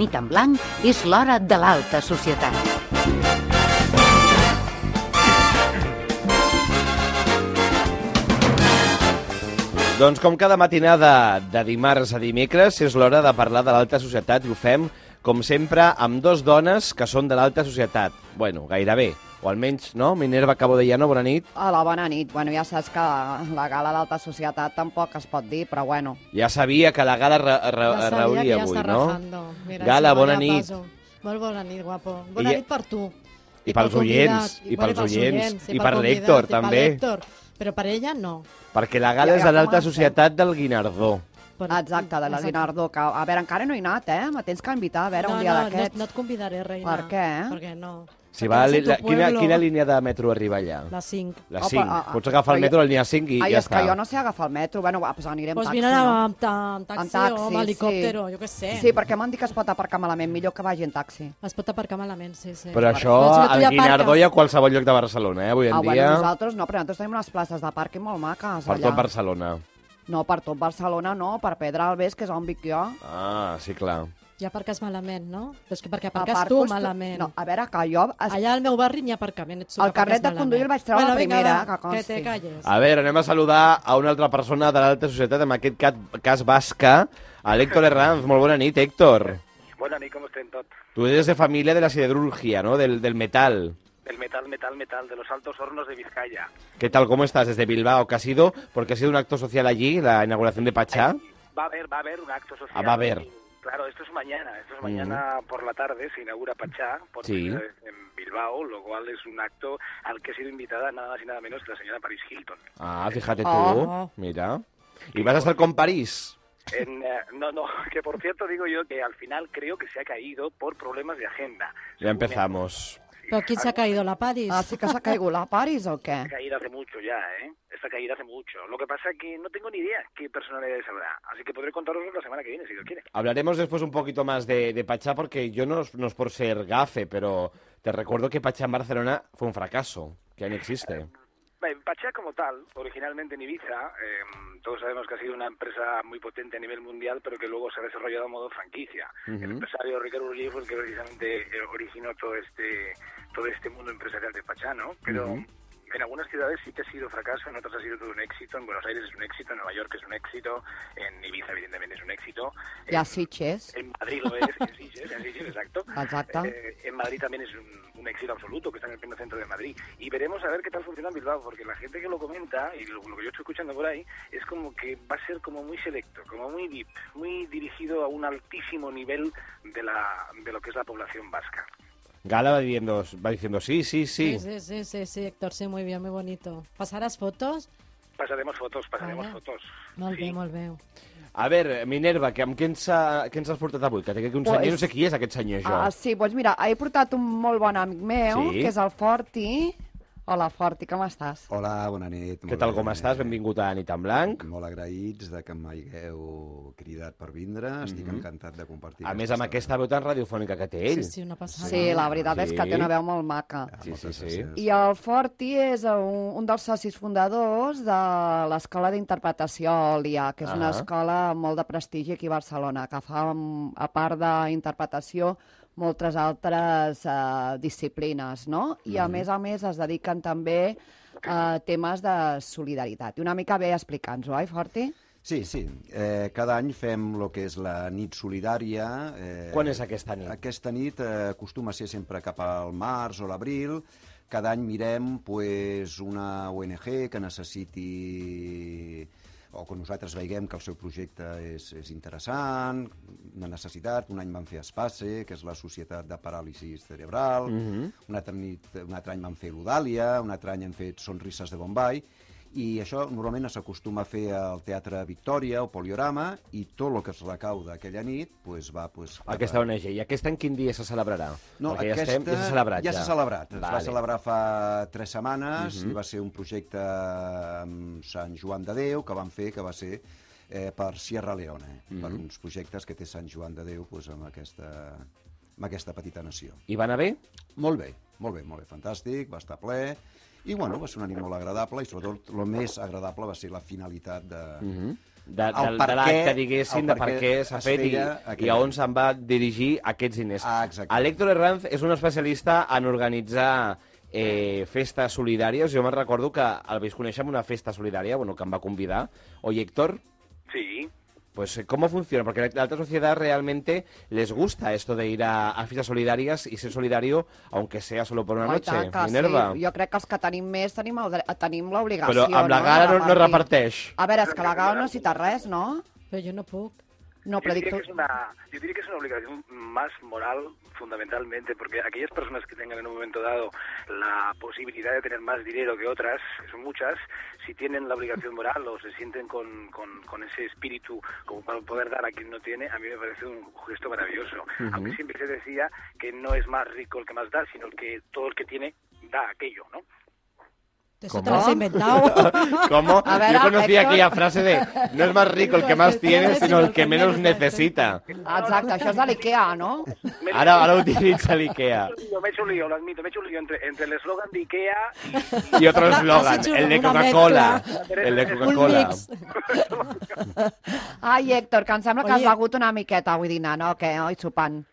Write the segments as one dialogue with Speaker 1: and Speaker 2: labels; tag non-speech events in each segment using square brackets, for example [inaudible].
Speaker 1: nit en blanc és l'hora de l'alta societat.
Speaker 2: Doncs com cada matinada de dimarts a dimecres és l'hora de parlar de l'alta societat i ho fem, com sempre, amb dos dones que són de l'alta societat. Bueno, gairebé. O almenys, no? Minerva Cabo de Llano, bona nit.
Speaker 3: Hola, bona nit. Bueno, ja saps que la gala d'alta societat tampoc es pot dir, però bueno.
Speaker 2: Ja sabia que la gala re, re,
Speaker 4: Ja sabia que
Speaker 2: reuria
Speaker 4: ja
Speaker 2: avui,
Speaker 4: està
Speaker 2: no?
Speaker 4: rajando. Mira,
Speaker 2: gala,
Speaker 4: se me
Speaker 2: bona
Speaker 4: la
Speaker 2: nit.
Speaker 4: paso. Molt bona nit, guapo. Bona
Speaker 2: I-
Speaker 4: nit per tu.
Speaker 2: I pels
Speaker 4: pel
Speaker 2: oients,
Speaker 4: convidat,
Speaker 2: i
Speaker 4: bueno,
Speaker 2: pels oients, i
Speaker 4: pel
Speaker 2: per
Speaker 4: convidat,
Speaker 2: l'Hèctor,
Speaker 4: i per
Speaker 2: també.
Speaker 4: l'Hèctor. Però per ella no.
Speaker 2: Perquè la gala
Speaker 3: Ja,
Speaker 2: és
Speaker 3: ja
Speaker 2: de l'alta
Speaker 3: comencem.
Speaker 2: societat del Guinardó.
Speaker 4: Per...
Speaker 3: Exacte, de la
Speaker 4: Exacte.
Speaker 3: Guinardó. Que, a veure, encara no he anat, eh? Me tens que invitar, a veure,
Speaker 4: no,
Speaker 3: un dia
Speaker 4: no,
Speaker 3: d'aquests.
Speaker 4: No, no et convidaré, reina.
Speaker 3: Per què?
Speaker 4: Perquè no.
Speaker 2: eh? Si
Speaker 4: Perquè
Speaker 2: va,
Speaker 4: no sé
Speaker 2: li-
Speaker 4: tu
Speaker 2: la, quina,
Speaker 4: pueblo.
Speaker 2: quina línia de metro arriba allà?
Speaker 4: La 5.
Speaker 2: La
Speaker 3: Opa,
Speaker 2: 5.
Speaker 3: ah, ah.
Speaker 2: Pots agafar el
Speaker 3: Ai,
Speaker 2: metro a la línia 5 i
Speaker 3: Ai,
Speaker 2: ja
Speaker 3: és que
Speaker 2: està.
Speaker 3: jo no sé agafar el metro. Bueno, va, pues aniré amb
Speaker 4: Pues
Speaker 3: taxi,
Speaker 4: Doncs mira,
Speaker 3: no?
Speaker 4: amb, ta, amb taxi,
Speaker 3: En taxi,
Speaker 4: o amb
Speaker 3: sí.
Speaker 4: helicòptero, jo què sé.
Speaker 3: Sí, perquè m'han dit que es pot aparcar malament, millor que vagi en taxi.
Speaker 4: Es pot aparcar malament, sí, sí.
Speaker 2: Però això,
Speaker 4: Però si no, tu
Speaker 2: al
Speaker 4: ja
Speaker 2: Guinardó
Speaker 4: aparques.
Speaker 2: i a qualsevol lloc de Barcelona, eh? Avui en
Speaker 3: Ah,
Speaker 2: dia,
Speaker 3: bueno, nosaltres no, però nosaltres tenim unes places de pàrquing molt maques
Speaker 2: per
Speaker 3: allà.
Speaker 2: tot Barcelona.
Speaker 3: No, per tot Barcelona no, per Pedralbes, que és on vic jo.
Speaker 2: Ah, sí, clar.
Speaker 4: Ja aparques malament, no? Però és que perquè aparques
Speaker 3: Aparco
Speaker 4: tu
Speaker 3: els tu-
Speaker 4: malament.
Speaker 3: No, a veure, que jo... Es...
Speaker 4: Allà al meu barri n'hi ha aparcament. Ets tu,
Speaker 3: El
Speaker 4: que aparques
Speaker 3: carnet de conduir el
Speaker 4: malament.
Speaker 3: vaig treure la
Speaker 4: vinga,
Speaker 3: primera,
Speaker 4: va,
Speaker 3: que consti.
Speaker 4: Que te calles.
Speaker 2: A veure, anem a saludar a una altra persona de l'alta societat, en aquest cat, cas basca, a l'Héctor Herranz. Molt bona nit, Héctor.
Speaker 5: Bona nit, com estem tots?
Speaker 2: Tu eres de família de la siderurgia, ¿no? Del, del metal.
Speaker 5: Del metal, metal, metal, de los altos hornos de Vizcaya.
Speaker 2: ¿Qué tal? ¿Cómo estás desde Bilbao? ¿Qué ha sido? Porque ha sido un acto social allí, la inauguración de Pachá.
Speaker 5: Va a haber, va a haber un acto social.
Speaker 2: Ah, va a haber.
Speaker 5: Claro, esto es mañana, esto es mañana por la tarde, se inaugura Pachá por
Speaker 2: Sí.
Speaker 5: primera vez en Bilbao, lo cual es un acto al que ha sido invitada nada más y nada menos que la señora Paris Hilton.
Speaker 2: Ah, fíjate
Speaker 3: Ah.
Speaker 2: tú. Mira. Y vas a estar con París.
Speaker 5: En, eh, no, [laughs] no, que por cierto digo yo que al final creo que se ha caído por problemas de agenda.
Speaker 2: Ya empezamos.
Speaker 4: Però qui s'ha caído? La Paris?
Speaker 3: Ah, sí que s'ha caigut la Paris o què?
Speaker 5: Esta caída hace mucho ya, ¿eh? Esta caída hace mucho. Lo que pasa que no tengo ni idea qué personalidades habrá, así que podré contaros la semana que viene, si lo quiere.
Speaker 2: Hablaremos después un poquito más de, de Pachá, porque yo no, no es por ser gafe, pero te recuerdo que Pachá en Barcelona fue un fracaso, que ya no existe.
Speaker 5: Bé, Pachá como tal, originalmente en Ibiza, eh, todos sabemos que ha sido una empresa muy potente a nivel mundial, pero que luego se ha desarrollado a modo franquicia. El
Speaker 2: Ujú.
Speaker 5: empresario Ricardo Urgell fue el que precisamente eh, originó todo este, todo este mundo empresarial de Pachá, ¿no? Pero
Speaker 2: Ujú.
Speaker 5: en algunas ciudades sí que ha sido fracaso, en otras ha sido todo un éxito, en Buenos Aires es un éxito, en Nueva York es un éxito, en Ibiza evidentemente es un éxito,
Speaker 3: I a Sitges,
Speaker 5: en Madrid lo es, en Sitges, en Sitges, exacto.
Speaker 3: exacte.
Speaker 5: Eh, en Madrid también es un, un éxito absoluto, que está en el pleno centro de Madrid. Y veremos a ver qué tal funciona en Bilbao, porque la gente que lo comenta, y lo, lo que yo estoy escuchando por ahí, es como que va a ser como muy selecto, como muy VIP, muy dirigido a un altísimo nivel de, la, de lo que es la población vasca.
Speaker 2: Gala va diciendo, va diciendo sí, sí, sí.
Speaker 4: Sí, sí, sí, sí, sí, Héctor, sí, muy bien, muy bonito. ¿Pasarás fotos?
Speaker 5: Pasaremos fotos, pasaremos
Speaker 4: Vaya.
Speaker 5: fotos.
Speaker 4: Molt
Speaker 5: Sí.
Speaker 4: bé, molt bé.
Speaker 2: A veure, Minerva, que amb què ens, ha, què ens has portat avui? Que, que un
Speaker 3: Pues-
Speaker 2: senyor, no sé qui és aquest senyor, jo.
Speaker 3: Ah, sí, doncs mira, he portat un molt bon amic meu,
Speaker 2: Sí?
Speaker 3: que és el Forti. Hola, Forti, com estàs?
Speaker 6: Hola, bona nit.
Speaker 2: Què tal, com estàs? Benvingut a Nit en Blanc.
Speaker 6: Molt agraïts de que m'hagueu cridat per vindre. Estic
Speaker 2: Mhm.
Speaker 6: encantat de compartir
Speaker 2: A més, amb aquesta veu tan radiofònica que té ell.
Speaker 4: Sí, sí, una passada.
Speaker 3: Sí, la veritat és que
Speaker 2: Sí.
Speaker 3: té una veu molt maca.
Speaker 2: Sí, sí, sí.
Speaker 3: I el Forti és un, un dels socis fundadors de l'Escola d'Interpretació Òlia, que és una
Speaker 2: Ah.
Speaker 3: escola molt de prestigi aquí a Barcelona, que fa, mm, a part d'interpretació, moltes altres eh, disciplines, no? I,
Speaker 2: Mhm.
Speaker 3: a més a més, es dediquen també a temes de solidaritat. I una mica bé explica'ns-ho, oi, Forti?
Speaker 6: Sí, sí. Eh, cada any fem el que és la nit solidària. Eh,
Speaker 2: Quan és aquesta nit?
Speaker 6: Aquesta nit eh, acostuma a ser sempre cap al març o l'abril. Cada any mirem pues, una ONG que necessiti o que nosaltres veiem que el seu projecte és, és interessant, una necessitat. Un any van fer Espace, que és la Societat de Paràlisi Cerebral, un, altre nit, un altre any van fer Ludàlia, un altre any han fet Sonrises de Bombay, i això normalment s'acostuma a fer al Teatre Victòria o Poliorama, i tot el que es recauda aquella nit pues, va... Pues, cap a-
Speaker 2: Aquesta ONG. I aquest any quin dia se celebrarà?
Speaker 6: no,
Speaker 2: Perquè
Speaker 6: aquesta
Speaker 2: ja, estem, ja s'ha celebrat.
Speaker 6: Ja s'ha celebrat. Es va
Speaker 2: Vale. Mhm.
Speaker 6: celebrar fa tres setmanes i va ser un projecte amb Sant Joan de Déu que van fer, que va ser eh, per Sierra Leone, per
Speaker 2: Mhm.
Speaker 6: uns projectes que té Sant Joan de Déu doncs, amb, aquesta, amb aquesta petita nació.
Speaker 2: I va anar bé?
Speaker 6: Molt bé, molt bé, molt bé, fantàstic, va estar ple,
Speaker 2: Mhm.
Speaker 6: i bueno, va ser una nit molt agradable i sobretot el més agradable va ser la finalitat de,
Speaker 2: de,
Speaker 6: El
Speaker 2: del- de
Speaker 6: per
Speaker 2: l'acte,
Speaker 6: què-
Speaker 2: diguéssim,
Speaker 6: el
Speaker 2: de
Speaker 6: per
Speaker 2: per
Speaker 6: què
Speaker 2: què s'ha
Speaker 6: es
Speaker 2: fet i,
Speaker 6: feia aquell
Speaker 2: i a on
Speaker 6: acte.
Speaker 2: se'n va dirigir aquests diners.
Speaker 6: Ah, exacte.
Speaker 2: L'Héctor Herranz és un especialista en organitzar eh, festes solidàries. Jo me'n recordo que el vaig conèixer en una festa solidària, bueno, que em va convidar. Oye, Héctor,
Speaker 5: Sí,
Speaker 2: Pues, eh, ¿cómo funciona? Porque a la alta sociedad realmente les gusta esto de ir a, a fiestas solidarias y ser solidario, aunque sea solo por una
Speaker 3: Home, i
Speaker 2: noche.
Speaker 3: tant que
Speaker 2: Minerva.
Speaker 3: Sí. Jo crec que els que tenim més tenim, el, dre- tenim l'obligació.
Speaker 2: Però amb la
Speaker 3: no,
Speaker 2: gala
Speaker 3: de
Speaker 2: no, no
Speaker 3: repartir.
Speaker 2: reparteix.
Speaker 3: A veure, és que la gala no necessita res, no?
Speaker 4: Però jo no puc.
Speaker 3: No,
Speaker 5: Yo
Speaker 3: però dic
Speaker 5: diría, que
Speaker 3: tu...
Speaker 5: es una, yo diría que es una obligación más moral fundamentalmente, porque aquellas personas que tengan en un momento dado la posibilidad de tener más dinero que otras, que son muchas, si tienen la obligación moral o se sienten con, con- con ese espíritu como para poder dar a quien no tiene, a mí me parece un gesto maravilloso. Aunque siempre se decía que no es más rico el que más da, sino el que todo el que tiene da aquello, ¿no?
Speaker 4: Eso te
Speaker 2: ¿Cómo?
Speaker 4: lo has inventado.
Speaker 2: ¿Cómo?
Speaker 3: A ver,
Speaker 2: Yo conocía
Speaker 3: Héctor.
Speaker 2: aquella frase de no es más rico el que más tiene, sino el que menos necesita.
Speaker 3: Exacte, això és de l'IKEA, no?
Speaker 5: Me-
Speaker 2: Ahora, ahora utiliza el IKEA.
Speaker 5: Me he hecho un lío, me he hecho un lío, lo admito, me he hecho un lío entre, entre el eslogan de Ikea
Speaker 2: [laughs]
Speaker 5: y
Speaker 2: Y otro eslogan,
Speaker 4: Has hecho
Speaker 2: el de
Speaker 4: una
Speaker 2: Coca-Cola.
Speaker 5: mezcla.
Speaker 2: El de
Speaker 5: Un
Speaker 2: Coca-Cola.
Speaker 4: mix.
Speaker 3: Ai, Héctor, que em sembla que
Speaker 4: Oye.
Speaker 3: has begut una miqueta avui dinar, no? O què? Oi, sopant.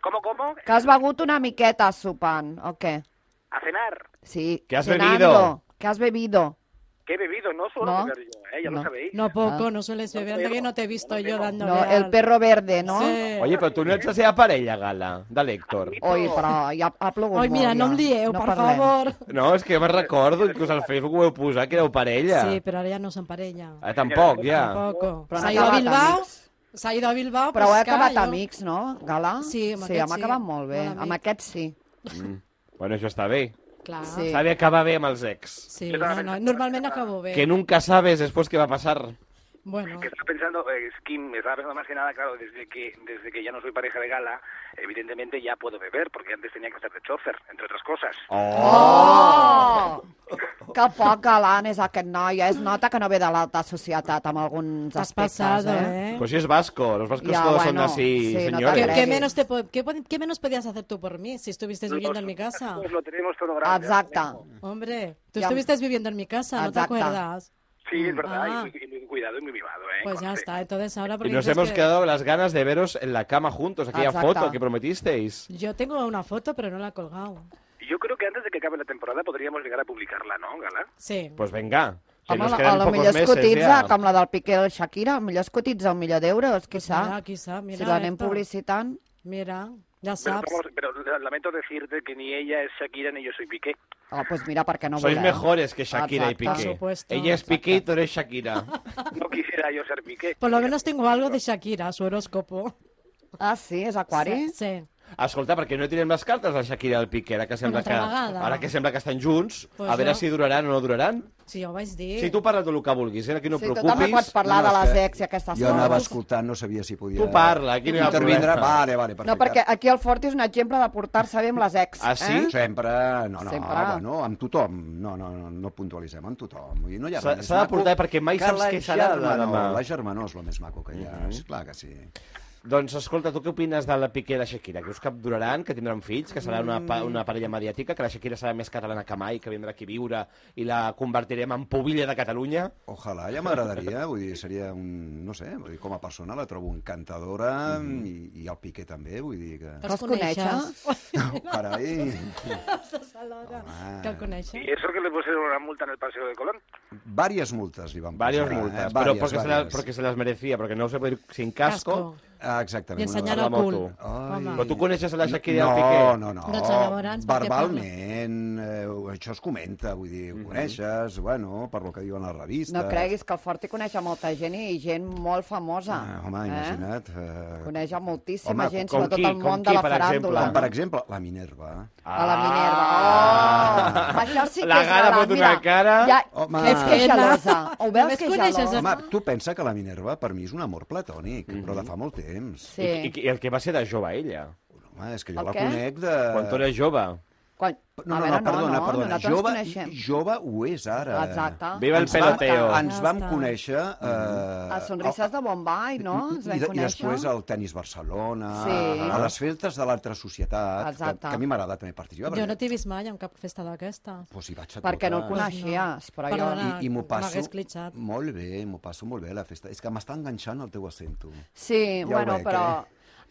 Speaker 5: ¿Cómo, cómo?
Speaker 3: Que has begut una miqueta sopant, o què?
Speaker 5: A cenar.
Speaker 3: Sí.
Speaker 2: ¿Qué has
Speaker 3: cenando.
Speaker 2: bebido?
Speaker 3: ¿Qué has bebido?
Speaker 5: Que he bebido, no solo
Speaker 3: No.
Speaker 5: beber yo, ¿eh? ya
Speaker 3: No.
Speaker 5: lo sabéis.
Speaker 4: No poco, no sueles beber. Anda que no te he visto
Speaker 5: No
Speaker 4: yo
Speaker 5: bebo.
Speaker 3: Ah. No,
Speaker 4: dándole
Speaker 3: el
Speaker 4: al-
Speaker 3: perro verde, no?
Speaker 4: Sí.
Speaker 2: Oye, però tu no ets la seva parella, Gala, de l'Héctor.
Speaker 3: Oi, però ja ha plogut
Speaker 4: Ay, mira,
Speaker 3: molt,
Speaker 4: no
Speaker 3: ja.
Speaker 4: em dieu,
Speaker 3: no
Speaker 4: por
Speaker 3: parlem.
Speaker 4: favor.
Speaker 2: No, és que me'n recordo, inclús al Facebook ho heu posat, que éreu parella.
Speaker 4: Sí, pero ahora ya no son parella.
Speaker 2: Ah, tampoc, ja.
Speaker 4: Tampoco.
Speaker 3: Però han
Speaker 4: Se ha ido a
Speaker 3: acabat
Speaker 4: Bilbao.
Speaker 3: amics.
Speaker 4: Se ha ido a Bilbao.
Speaker 3: Però ho he
Speaker 4: pues,
Speaker 3: acabat
Speaker 4: clar, jo-
Speaker 3: amics, no, Gala?
Speaker 4: Sí, amb
Speaker 3: sí,
Speaker 4: aquest
Speaker 3: hem
Speaker 4: sí,
Speaker 3: acabat molt bé.
Speaker 4: molt
Speaker 3: Amb
Speaker 4: amic.
Speaker 3: aquest sí.
Speaker 2: Bueno, això està bé.
Speaker 4: Clar.
Speaker 3: Sí.
Speaker 2: S'ha d'acabar bé amb els ex.
Speaker 4: Sí, no, no, normalment acabo bé.
Speaker 2: Que nunca sabes después qué va a pasar.
Speaker 4: Bueno,
Speaker 5: Que estaba pensando, eh, es Kim, me estaba pensando más que nada, claro, desde que desde que ya no soy pareja de gala, evidentemente ya puedo beber, porque antes tenía que estar de chofer, entre otras cosas.
Speaker 3: Oh! [laughs] Que poc galant és aquest noi. eh? Es nota que no ve de l'alta societat amb alguns
Speaker 4: t'has
Speaker 3: aspectes,
Speaker 4: pasado,
Speaker 3: eh?
Speaker 4: eh?
Speaker 2: Pues si es vasco, los vascos
Speaker 3: Ya,
Speaker 2: todos son
Speaker 3: bueno,
Speaker 2: así,
Speaker 3: sí, no te
Speaker 4: ¿Qué,
Speaker 2: señores.
Speaker 3: creas.
Speaker 4: qué menos te, po- qué, po- qué menos podías hacer tú por mí si estuviste viviendo en mi casa?
Speaker 5: Nosotros lo tenemos todo grande.
Speaker 3: Exacte.
Speaker 4: Hombre, tú
Speaker 3: Ya.
Speaker 4: estuviste viviendo en mi casa, ¿no te
Speaker 3: Exacto.
Speaker 4: acuerdas?
Speaker 5: Sí, es verdad,
Speaker 4: Ah.
Speaker 5: y, muy, y muy cuidado y muy mimado, ¿eh?
Speaker 4: Pues ya
Speaker 5: Conste.
Speaker 4: está, entonces ahora
Speaker 2: Y
Speaker 4: porque
Speaker 2: nos
Speaker 4: dices
Speaker 2: hemos
Speaker 4: que-
Speaker 2: quedado con las ganas de veros en la cama juntos, aquella
Speaker 3: Exacto.
Speaker 2: foto que prometisteis.
Speaker 4: Yo tengo una foto, pero no la he colgado.
Speaker 5: Yo creo que antes de que acabe la temporada podríamos llegar a publicarla, ¿no, Gala?
Speaker 4: Sí.
Speaker 2: Pues venga, que
Speaker 3: Home,
Speaker 2: nos
Speaker 3: a
Speaker 2: quedan
Speaker 3: lo
Speaker 2: pocos
Speaker 3: millor es
Speaker 2: meses
Speaker 3: cotitza,
Speaker 2: ya.
Speaker 3: com la del Piqué del Shakira, a lo millor es cotitza un milió d'euros,
Speaker 4: Mira,
Speaker 3: quizá.
Speaker 4: quizá, mira.
Speaker 3: Si l'anem
Speaker 4: esto.
Speaker 3: publicitant...
Speaker 4: Mira, ya
Speaker 5: Pero,
Speaker 4: sabes.
Speaker 5: vamos, pero la- lamento decirte que ni ella es Shakira ni yo soy
Speaker 4: [laughs]
Speaker 5: Piqué.
Speaker 3: Oh, doncs pues mira, per què no
Speaker 2: Sois
Speaker 3: voleu?
Speaker 2: mejores que Shakira
Speaker 3: Exacto.
Speaker 2: y
Speaker 4: Por
Speaker 2: Piqué.
Speaker 4: supuesto,
Speaker 2: Ella es
Speaker 4: exacto.
Speaker 2: Piqué y tú eres Shakira.
Speaker 5: No quisiera yo ser Piqué.
Speaker 4: Por lo menos tengo algo de Shakira, su horóscopo.
Speaker 3: Ah, sí? És aquari?
Speaker 4: Sí. sí.
Speaker 2: Escolta, per què no tirem les cartes a Shakira i al Piqué? Ara que sembla,
Speaker 4: Una
Speaker 2: que,
Speaker 4: altra vegada.
Speaker 2: ara que, sembla que estan junts,
Speaker 4: Pues
Speaker 2: a veure
Speaker 4: jo.
Speaker 2: si duraran o no duraran.
Speaker 4: Sí, ho vaig dir.
Speaker 2: Si tu parles del que vulguis, eh? aquí no et
Speaker 3: sí,
Speaker 2: preocupis.
Speaker 3: tothom em pots parlar
Speaker 6: No,
Speaker 3: de
Speaker 6: no, és
Speaker 3: les
Speaker 6: que
Speaker 3: ex i aquestes
Speaker 6: Jo anava
Speaker 3: coses.
Speaker 6: escoltant, no sabia si podia...
Speaker 2: Tu parla, aquí no hi ha
Speaker 6: Intervindre,
Speaker 2: problema.
Speaker 6: vale, vale, perfecte.
Speaker 3: No, perquè aquí el Forti és un exemple de portar-se bé amb les ex.
Speaker 2: Ah, sí?
Speaker 3: Eh?
Speaker 6: Sempre, no, no,
Speaker 3: Sempre.
Speaker 6: bueno, amb tothom. No, no, no, no puntualitzem amb tothom. Vull dir, no hi ha
Speaker 2: S'ha-
Speaker 6: res més
Speaker 2: s'ha de
Speaker 6: maco
Speaker 2: portar perquè mai
Speaker 6: que
Speaker 2: saps
Speaker 6: la
Speaker 2: què serà de
Speaker 6: germanor.
Speaker 2: demà. Mhm.
Speaker 6: La germanor és el més maco que hi ha, sí, clar que sí.
Speaker 2: Doncs escolta, tu què opines de la Piqué i la Shakira? Creus que duraran, que tindran fills, que serà una,
Speaker 3: Mm.
Speaker 2: pa- una parella mediàtica, que la Shakira serà més catalana que mai, que vindrà aquí a viure i la convertirem en pubilla de Catalunya?
Speaker 6: Ojalà, ja m'agradaria, vull dir, seria un... No sé, vull dir, com a persona la trobo encantadora
Speaker 2: Mhm.
Speaker 6: i, i el Piqué també, vull dir que...
Speaker 4: Que
Speaker 3: Els
Speaker 4: els
Speaker 3: coneixes?
Speaker 6: [laughs] Oh, carai!
Speaker 4: Estàs a l'hora [laughs] que el coneixes.
Speaker 5: Y eso que le pusieron una multa en el Paseo de Colón.
Speaker 6: Vàries multes li van posar.
Speaker 2: Varios
Speaker 6: eh?
Speaker 2: multas,
Speaker 6: Vàries,
Speaker 2: però perquè se, la,
Speaker 6: vàries.
Speaker 2: perquè se les merecia, perquè no se puede ir sin casco.
Speaker 6: Ah,
Speaker 4: I
Speaker 6: exactament. una
Speaker 4: ensenyant
Speaker 2: la
Speaker 4: el cul.
Speaker 2: moto.
Speaker 6: Ai.
Speaker 2: Però tu coneixes la Shakira i
Speaker 6: No,
Speaker 2: el Piqué?
Speaker 6: no, no.
Speaker 4: Doncs llavors, per què
Speaker 6: Verbalment, eh, això es comenta, vull dir,
Speaker 2: Mhm.
Speaker 6: ho coneixes, bueno, per lo que diuen les revistes.
Speaker 3: No creguis que el Forti coneix a molta gent i gent molt famosa.
Speaker 6: Ah, home, imagina't. Eh?
Speaker 3: Coneix a moltíssima
Speaker 6: Home,
Speaker 3: gent,
Speaker 2: com
Speaker 3: sobretot
Speaker 2: qui?
Speaker 3: el
Speaker 2: Com
Speaker 3: món
Speaker 2: qui,
Speaker 3: de la
Speaker 2: per exemple?
Speaker 3: faràndula.
Speaker 6: Com, per exemple, Ah! la Minerva.
Speaker 3: A la Minerva. Oh! Això sí que
Speaker 2: Ah. La
Speaker 3: és
Speaker 2: Gara
Speaker 3: galant,
Speaker 2: fot una
Speaker 3: mira.
Speaker 2: cara.
Speaker 3: Ja,
Speaker 6: Home.
Speaker 3: és que és
Speaker 4: Ella.
Speaker 3: gelosa. Ho veus
Speaker 4: Només
Speaker 3: que és
Speaker 4: coneixes
Speaker 3: gelosa?
Speaker 4: el-
Speaker 6: Home, tu pensa que la Minerva per mi és un amor platònic, però
Speaker 2: Mhm.
Speaker 6: de fa molt temps.
Speaker 3: Sí.
Speaker 2: I, I el que va ser de jove, ella?
Speaker 6: Eh. Home, és que jo
Speaker 3: El
Speaker 6: la
Speaker 3: què?
Speaker 6: conec de...
Speaker 2: Quan tu eres jove?
Speaker 3: Quan...
Speaker 6: No,
Speaker 3: a
Speaker 6: no,
Speaker 3: veure,
Speaker 6: no, perdona,
Speaker 3: no,
Speaker 6: perdona.
Speaker 3: nosaltres
Speaker 6: Jove,
Speaker 3: ens coneixem.
Speaker 6: jove ho és ara.
Speaker 3: Exacte. Mhm.
Speaker 2: Viva el
Speaker 6: Ens vam-
Speaker 2: peloteo.
Speaker 6: Ens
Speaker 4: Ja
Speaker 6: vam
Speaker 4: està.
Speaker 6: conèixer... Eh,
Speaker 3: A Sonrises de Bombay, no? Ens
Speaker 6: I,
Speaker 3: vam
Speaker 6: de- I
Speaker 3: conèixer.
Speaker 6: després al Tenis Barcelona,
Speaker 3: Sí.
Speaker 6: a les feltes de l'altra societat, que,
Speaker 3: Exacte.
Speaker 6: que a mi m'agrada també participar.
Speaker 4: Jo no t'he vist mai en cap festa d'aquesta. Doncs
Speaker 6: Pues hi vaig a
Speaker 3: Perquè no el
Speaker 6: totes.
Speaker 3: coneixies, però
Speaker 4: Perdona.
Speaker 3: jo...
Speaker 6: I, i m'ho passo
Speaker 4: M'hagués clitxat.
Speaker 6: molt bé, m'ho passo molt bé a la festa. És que m'està enganxant el teu acento.
Speaker 3: Sí,
Speaker 6: Ja ho
Speaker 3: bueno,
Speaker 6: veig, eh?
Speaker 3: però...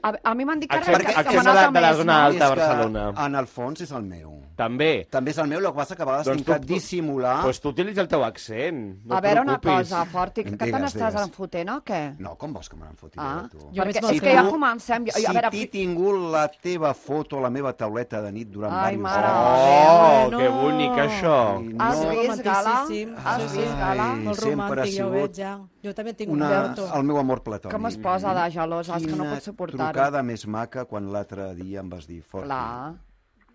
Speaker 3: A, a mi m'han dit que
Speaker 2: Accés-
Speaker 3: arrenca
Speaker 2: accés
Speaker 3: setmanals
Speaker 2: a la-
Speaker 3: a
Speaker 2: de la
Speaker 3: més,
Speaker 2: zona
Speaker 3: no?
Speaker 2: alta. de
Speaker 6: És que,
Speaker 2: Barcelona.
Speaker 6: En el fons és el meu.
Speaker 2: També.
Speaker 6: També és el meu, el que passa que a vegades
Speaker 2: Doncs
Speaker 6: doncs tinc
Speaker 2: tu-
Speaker 6: que dissimular...
Speaker 2: Doncs tu utilitza el teu accent. No
Speaker 3: a
Speaker 2: et
Speaker 3: veure una
Speaker 2: preocupis.
Speaker 3: cosa, Forti, que te
Speaker 6: Digues,
Speaker 3: n'estàs
Speaker 6: digues.
Speaker 3: enfotent o què?
Speaker 6: No, com vols que me n'en foti
Speaker 3: Ah,
Speaker 6: tu?
Speaker 4: Jo
Speaker 3: perquè
Speaker 4: veig
Speaker 3: és
Speaker 4: molt
Speaker 3: que
Speaker 4: que
Speaker 3: ja
Speaker 4: no.
Speaker 3: comencem. Jo,
Speaker 6: Si
Speaker 3: a veure,
Speaker 6: t'he tingut la teva foto a la meva tauleta de nit durant
Speaker 3: Ai,
Speaker 6: diversos
Speaker 3: mare. Ah,
Speaker 6: anys...
Speaker 2: Oh,
Speaker 4: Bueno.
Speaker 2: que bonic, això.
Speaker 6: i
Speaker 3: has
Speaker 4: no.
Speaker 3: vist Gala?
Speaker 4: Romantiquíssim.
Speaker 3: Has vist Gala?
Speaker 6: Ai,
Speaker 4: Ah, Molt
Speaker 6: sempre ha
Speaker 4: romàntic, ja ho
Speaker 6: sigut
Speaker 4: veig, ja. Jo també tinc
Speaker 6: Una,
Speaker 4: un deute.
Speaker 6: el meu amor platònic.
Speaker 3: Com es posa de gelosa, és que no pot
Speaker 6: Quina
Speaker 3: suportar-ho.
Speaker 6: trucada més maca quan l'altre dia em vas dir fort.
Speaker 3: Clar,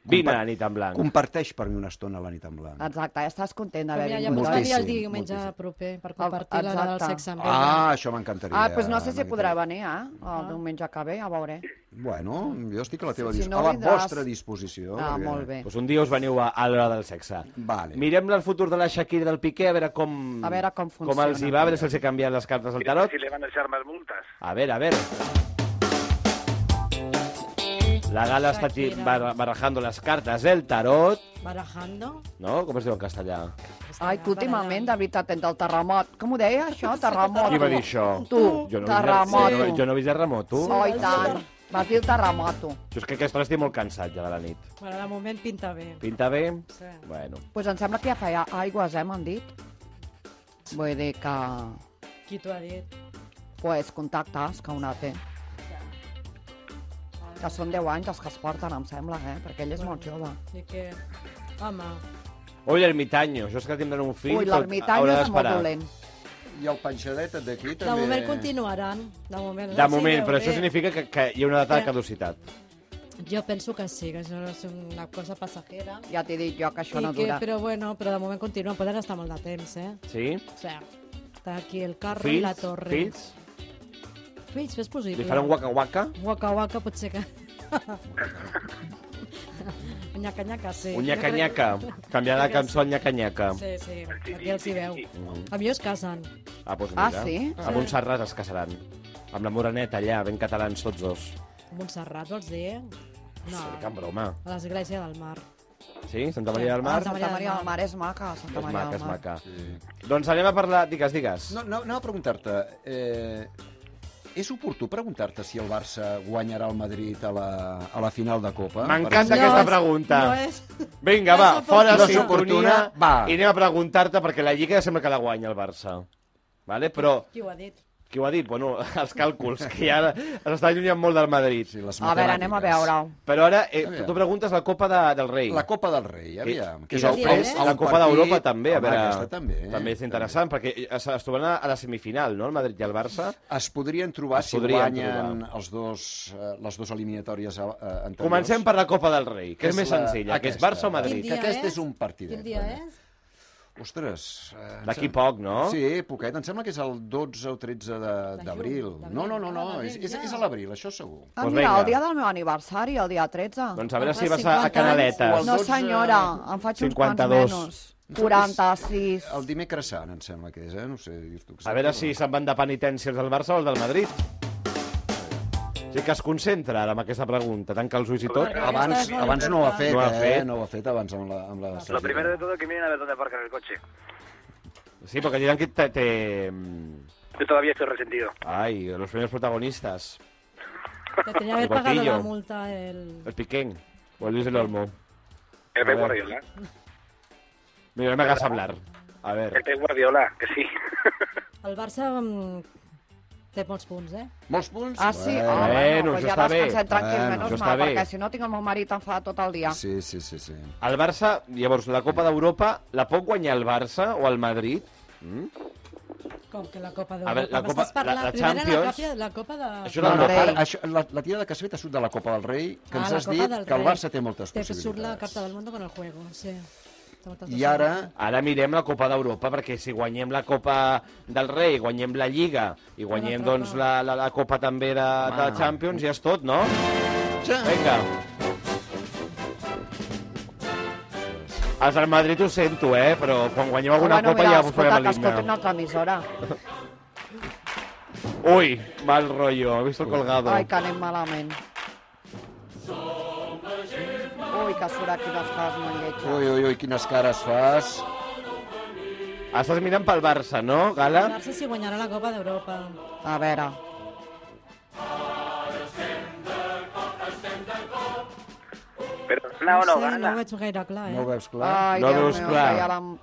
Speaker 2: Vine a la nit en blanc.
Speaker 6: Comparteix per mi una estona la nit en blanc.
Speaker 3: exacte, ja estàs content
Speaker 4: Com
Speaker 3: d'haver
Speaker 4: Doncs ja, ja
Speaker 3: vingut,
Speaker 4: pots
Speaker 3: oi?
Speaker 4: venir el
Speaker 6: Moltíssim,
Speaker 4: diumenge
Speaker 6: moltíssim.
Speaker 4: proper per compartir la del
Speaker 3: exacte.
Speaker 4: sexe amb ella.
Speaker 6: Ah, això m'encantaria.
Speaker 3: Ah, doncs no sé si
Speaker 6: Margarita.
Speaker 3: podrà venir, eh?
Speaker 4: Ah.
Speaker 3: El diumenge que ve, ja veuré.
Speaker 6: Bueno, jo estic a la teva
Speaker 3: Si
Speaker 6: disposició.
Speaker 3: no
Speaker 6: a la
Speaker 3: vindràs-
Speaker 6: vostra disposició.
Speaker 3: Ah,
Speaker 6: perquè-
Speaker 3: molt bé.
Speaker 2: Pues un dia us veniu a, a l'hora del sexe.
Speaker 6: Vale.
Speaker 2: Mirem el futur de la Shakira i del Piqué, a veure com...
Speaker 3: A veure com
Speaker 2: Com els hi
Speaker 3: funciona.
Speaker 2: va, a veure si els he canviat les cartes al tarot.
Speaker 5: Si le van a echar más multas.
Speaker 2: A veure, a veure. La gala està aquí
Speaker 4: Shakira.
Speaker 2: bar- barajando les cartes del tarot,
Speaker 4: Barajando.
Speaker 2: no? Com es diu en castellà?
Speaker 3: Ai, que últimament, de veritat, entre el terremot... Com ho deia, això? Terremoto.
Speaker 2: Qui va dir això?
Speaker 3: Tu,
Speaker 2: Jo no
Speaker 3: terremoto.
Speaker 2: Jo no, jo no he vist terremoto.
Speaker 3: Oh, i tant. Vas dir el terremoto.
Speaker 2: Jo és que aquesta hora estic molt cansat ja de la nit.
Speaker 4: Bueno, de moment pinta bé.
Speaker 2: Pinta bé?
Speaker 4: Sí.
Speaker 2: Bueno.
Speaker 3: Doncs pues em sembla que ja feia aigües, eh, m'han dit. Vull dir que...
Speaker 4: Qui t'ho ha dit?
Speaker 3: Pues contactes que una té. Que són 10 anys els que es porten, em sembla, eh? Perquè ell és molt jove.
Speaker 4: I que... Home,
Speaker 2: Ui, l'ermitaño. Jo és que tindran un fill.
Speaker 3: Ui,
Speaker 2: però
Speaker 3: l'ermitany
Speaker 2: haurà
Speaker 3: és molt
Speaker 2: d'esperar.
Speaker 3: dolent.
Speaker 6: I el panxadet d'aquí
Speaker 4: de
Speaker 6: també...
Speaker 4: moment continuaran. De moment,
Speaker 2: De moment, però això significa que, que hi ha una data de caducitat.
Speaker 4: Jo penso que sí, que això és una cosa passajera.
Speaker 3: Ja t'he dit jo que això
Speaker 4: I
Speaker 3: no
Speaker 4: que,
Speaker 3: dura.
Speaker 4: però bueno, però de moment continuen, poden estar molt de temps, eh?
Speaker 2: Sí?
Speaker 4: O sigui, està aquí el carro i la
Speaker 2: Fills?
Speaker 4: torre.
Speaker 2: Fills?
Speaker 4: Fills, fes possible.
Speaker 2: Li farà un waka-waka?
Speaker 4: Waka waka potser que... nyaca nyaca, sí.
Speaker 2: Un
Speaker 4: [laughs]
Speaker 2: nyaca-nyaca. Canviar la cançó al nyaca-nyaca.
Speaker 4: Sí, sí, aquí els hi veu. A mi es casen.
Speaker 2: Ah, doncs mira.
Speaker 3: Ah, sí?
Speaker 2: A Montserrat es casaran. Amb la Moreneta allà, ben catalans tots dos.
Speaker 4: Montserrat, vols dir?
Speaker 2: No.
Speaker 4: No,
Speaker 2: Sí, que broma.
Speaker 4: a l'església del mar.
Speaker 2: Sí? Santa Maria del Mar?
Speaker 4: Ah,
Speaker 3: Santa Maria del Mar és maca, Santa
Speaker 2: És
Speaker 3: Maria
Speaker 2: maca,
Speaker 3: del
Speaker 2: és
Speaker 3: Mar.
Speaker 2: maca. Doncs anem a parlar... Digues, digues.
Speaker 6: No, no, anava a preguntar-te... Eh, és oportú preguntar-te si el Barça guanyarà el Madrid a la, a la final de Copa?
Speaker 2: M'encanta
Speaker 6: Per exemple?
Speaker 2: aquesta
Speaker 4: és-
Speaker 2: pregunta.
Speaker 4: No és...
Speaker 2: Vinga,
Speaker 4: No
Speaker 2: va,
Speaker 4: és
Speaker 2: fora
Speaker 4: oportuna.
Speaker 2: de
Speaker 6: No és
Speaker 2: sintonia.
Speaker 6: oportuna, va.
Speaker 2: I anem a preguntar-te, perquè la Lliga ja sembla que la guanya el Barça. Vale? Però,
Speaker 4: Qui ho ha dit?
Speaker 2: qui ho ha dit? Bueno, [laughs] els càlculs, que ja s'està allunyant molt del Madrid.
Speaker 6: Sí, les
Speaker 3: A veure, anem a
Speaker 6: matemàtiques.
Speaker 3: veure-ho.
Speaker 2: Però ara, eh,
Speaker 6: Aviam.
Speaker 2: tu preguntes la Copa de, del Rei.
Speaker 6: La Copa del Rei, aviam.
Speaker 2: que, que és
Speaker 4: ja
Speaker 2: el,
Speaker 4: diré,
Speaker 2: pres,
Speaker 4: eh?
Speaker 2: la
Speaker 6: un
Speaker 2: Copa
Speaker 6: partit-
Speaker 2: d'Europa també, a
Speaker 6: Home,
Speaker 2: veure,
Speaker 6: aquesta també. eh?
Speaker 2: també és interessant, perquè es, es trobaran a la semifinal, no?, el Madrid i el Barça.
Speaker 6: Es podrien trobar
Speaker 2: Es
Speaker 6: si
Speaker 2: podrien
Speaker 6: guanyen
Speaker 2: trobar.
Speaker 6: els dos, eh, les dues eliminatòries eh, anteriors.
Speaker 2: Comencem per la Copa del Rei, que és, més senzilla, que és Barça o
Speaker 4: Quin
Speaker 2: Madrid.
Speaker 4: dia
Speaker 6: Que aquest
Speaker 4: és?
Speaker 6: és un partidet.
Speaker 4: Quin dia
Speaker 6: vaja.
Speaker 4: és?
Speaker 6: Ostres. eh, em
Speaker 2: D'aquí
Speaker 6: sembla-
Speaker 2: poc, no?
Speaker 6: Sí, poquet. Em sembla que és el 12 o 13 de-
Speaker 4: De
Speaker 6: d'abril.
Speaker 4: juny,
Speaker 6: No, no, no,
Speaker 4: d'abril.
Speaker 6: no.
Speaker 4: Ah,
Speaker 6: És,
Speaker 4: d'abril,
Speaker 6: és,
Speaker 4: ja.
Speaker 6: és a l'abril, això segur.
Speaker 3: Ah,
Speaker 2: Doncs
Speaker 3: mira,
Speaker 2: vinga.
Speaker 3: el dia del meu aniversari, el dia 13.
Speaker 2: Doncs eh, a veure si
Speaker 4: Fa
Speaker 2: vas a, a
Speaker 4: 50
Speaker 2: Canaletes.
Speaker 6: anys.
Speaker 3: No,
Speaker 6: 12,
Speaker 3: senyora, em faig uns quants
Speaker 2: 52.
Speaker 3: menos. 46.
Speaker 6: El dimecres sant, em sembla que és, eh? No sé dir-t'ho
Speaker 2: A veure si se'n van de penitències del Barça o el del Madrid. Sí que es concentra ara amb aquesta pregunta, tanca els ulls i tot.
Speaker 4: Perquè aquesta
Speaker 6: Abans,
Speaker 4: és molt
Speaker 6: abans no ho ha fet,
Speaker 2: No ho ha
Speaker 6: eh?
Speaker 2: fet.
Speaker 6: No ho ha fet abans amb la... Amb la,
Speaker 5: Lo primero de todo que miren a ver dónde aparcan el coche.
Speaker 2: Sí, perquè diran que te... te...
Speaker 5: Yo todavía estoy resentido.
Speaker 2: Ai, los primeros protagonistas.
Speaker 4: Te tenia haver
Speaker 2: El
Speaker 4: pagat
Speaker 2: banquillo.
Speaker 4: la multa el...
Speaker 2: El Piquén o el Luis del Olmo.
Speaker 5: El
Speaker 2: A ver.
Speaker 5: Pep Guardiola.
Speaker 2: Mira, no me hagas hablar. A
Speaker 5: El
Speaker 2: ver.
Speaker 5: Pep Guardiola, que sí. [laughs]
Speaker 4: El Barça mm, té molts punts, eh?
Speaker 6: Molts punts?
Speaker 3: Ah, sí?
Speaker 6: Bueno.
Speaker 3: Ah,
Speaker 2: Bueno,
Speaker 3: bueno,
Speaker 2: això
Speaker 3: pues ja
Speaker 2: està bé.
Speaker 3: descansem tranquils,
Speaker 6: Bueno,
Speaker 2: això
Speaker 3: menys mal,
Speaker 2: està bé.
Speaker 3: perquè si no tinc el meu marit enfadat tot el dia.
Speaker 6: Sí, sí, sí, sí.
Speaker 2: El Barça, llavors, la Copa d'Europa, la pot guanyar el Barça o el Madrid?
Speaker 4: Com que la Copa
Speaker 2: A
Speaker 4: d'Europa.
Speaker 2: veure, la
Speaker 4: M'estàs
Speaker 2: Copa- la-
Speaker 4: parlant-
Speaker 2: la
Speaker 4: primer era
Speaker 2: Champions-
Speaker 4: La, Copa, la Copa de...
Speaker 2: Això
Speaker 6: No,
Speaker 2: no,
Speaker 6: no,
Speaker 3: Del Rei.
Speaker 6: ara, això, la, la tirada que has fet ha surt de la Copa del Rei, que ens
Speaker 4: Ah, la
Speaker 6: has
Speaker 4: Copa
Speaker 6: dit
Speaker 4: del
Speaker 6: que el
Speaker 4: Rei.
Speaker 6: Barça té moltes
Speaker 4: Té que
Speaker 6: possibilitats.
Speaker 4: surt la Carta del Mundo con el juego, sí. Té moltes
Speaker 6: I ara,
Speaker 2: Ara mirem la Copa d'Europa, perquè si guanyem la Copa del Rei, guanyem la Lliga i guanyem
Speaker 4: Una altra
Speaker 2: doncs, la, la, la Copa també de, de
Speaker 6: Home.
Speaker 2: Champions, ja és tot, no?
Speaker 6: ja,
Speaker 2: Vinga. Els del Madrid ho sento, eh? Però quan guanyem alguna
Speaker 3: Bueno,
Speaker 2: copa
Speaker 3: mira,
Speaker 2: ja us
Speaker 3: escolta,
Speaker 2: posarem
Speaker 3: que
Speaker 2: l'himne.
Speaker 3: escoltin una altra emissora.
Speaker 2: Ui, mal rotllo, he vist el colgado.
Speaker 3: Ai, que anem malament. Ui, que surt aquí les cares molt lletges.
Speaker 6: Ui, ui, ui, quines cares fas.
Speaker 2: Estàs mirant pel Barça, no,
Speaker 4: El
Speaker 2: Gala?
Speaker 4: Barça si guanyarà la Copa d'Europa.
Speaker 3: A veure,
Speaker 5: Però no, no,
Speaker 4: sé, no
Speaker 5: gana.
Speaker 4: ho veig gaire clar, eh?
Speaker 6: No ho veus clar?
Speaker 3: ai,
Speaker 2: No
Speaker 3: Déu
Speaker 2: veus
Speaker 3: meu,
Speaker 2: clar.
Speaker 3: que ja l'han...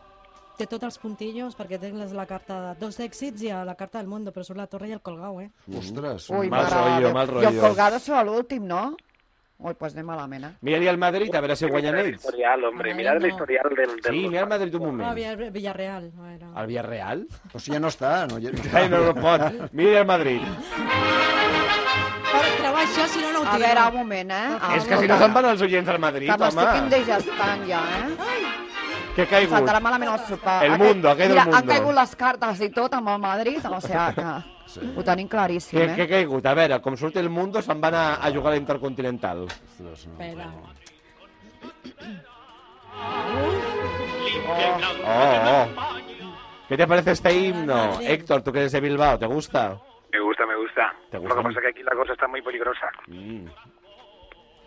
Speaker 4: Té tots els puntillos perquè té les- la carta de dos èxits i a la carta del Mundo, però surt la Torre i el Colgau, eh?
Speaker 6: Mm. Ostres.
Speaker 3: Ui,
Speaker 2: Mal
Speaker 3: mare de
Speaker 2: rotllo,
Speaker 3: Déu.
Speaker 2: mal
Speaker 3: I
Speaker 2: rotllo.
Speaker 3: el Colgado serà l'últim, no? Ui, doncs pues anem malament, eh?
Speaker 2: Mira-li al Madrid a veure si guanyen
Speaker 5: Mirad el
Speaker 2: ells.
Speaker 5: historial, hombre,
Speaker 4: Madrid
Speaker 5: mirad el
Speaker 4: no.
Speaker 5: historial del... del
Speaker 2: Sí, mira el Madrid un
Speaker 4: Ah,
Speaker 2: moment.
Speaker 4: Villa- Villarreal, a veure.
Speaker 6: Ah.
Speaker 2: El [laughs] Villarreal?
Speaker 6: O sigui, ja no està. No, ja...
Speaker 2: Ai, no, no pot. Mira el Madrid.
Speaker 4: Però treu això, si no, no ho
Speaker 3: A
Speaker 4: tiro.
Speaker 3: veure, un moment, eh? Ah,
Speaker 2: És que si no se'n van els oients al Madrid,
Speaker 3: Que m'estic
Speaker 2: home.
Speaker 3: indigestant ja, eh?
Speaker 2: Que ha
Speaker 3: Em saltarà
Speaker 2: caigut.
Speaker 3: malament el sopar.
Speaker 2: El
Speaker 3: Ha
Speaker 2: mundo, ha
Speaker 3: caigut-
Speaker 2: caído el
Speaker 3: Mira, han
Speaker 2: mundo.
Speaker 3: caigut les cartes i tot amb el Madrid, o sigui que
Speaker 6: Sí.
Speaker 3: ho tenim claríssim,
Speaker 2: Que, que
Speaker 3: eh?
Speaker 2: ha caigut. A veure, com surt el Mundo, se'n van a, a jugar a l'Intercontinental.
Speaker 6: Ostres, no.
Speaker 4: Espera.
Speaker 2: Oh, oh. ¿Qué te parece este himno? Héctor, tú que eres de Bilbao, ¿te gusta?
Speaker 5: Me gusta, me gusta.
Speaker 2: ¿Te gusta?
Speaker 5: Lo que pasa es que aquí la cosa está muy peligrosa.
Speaker 2: Mm.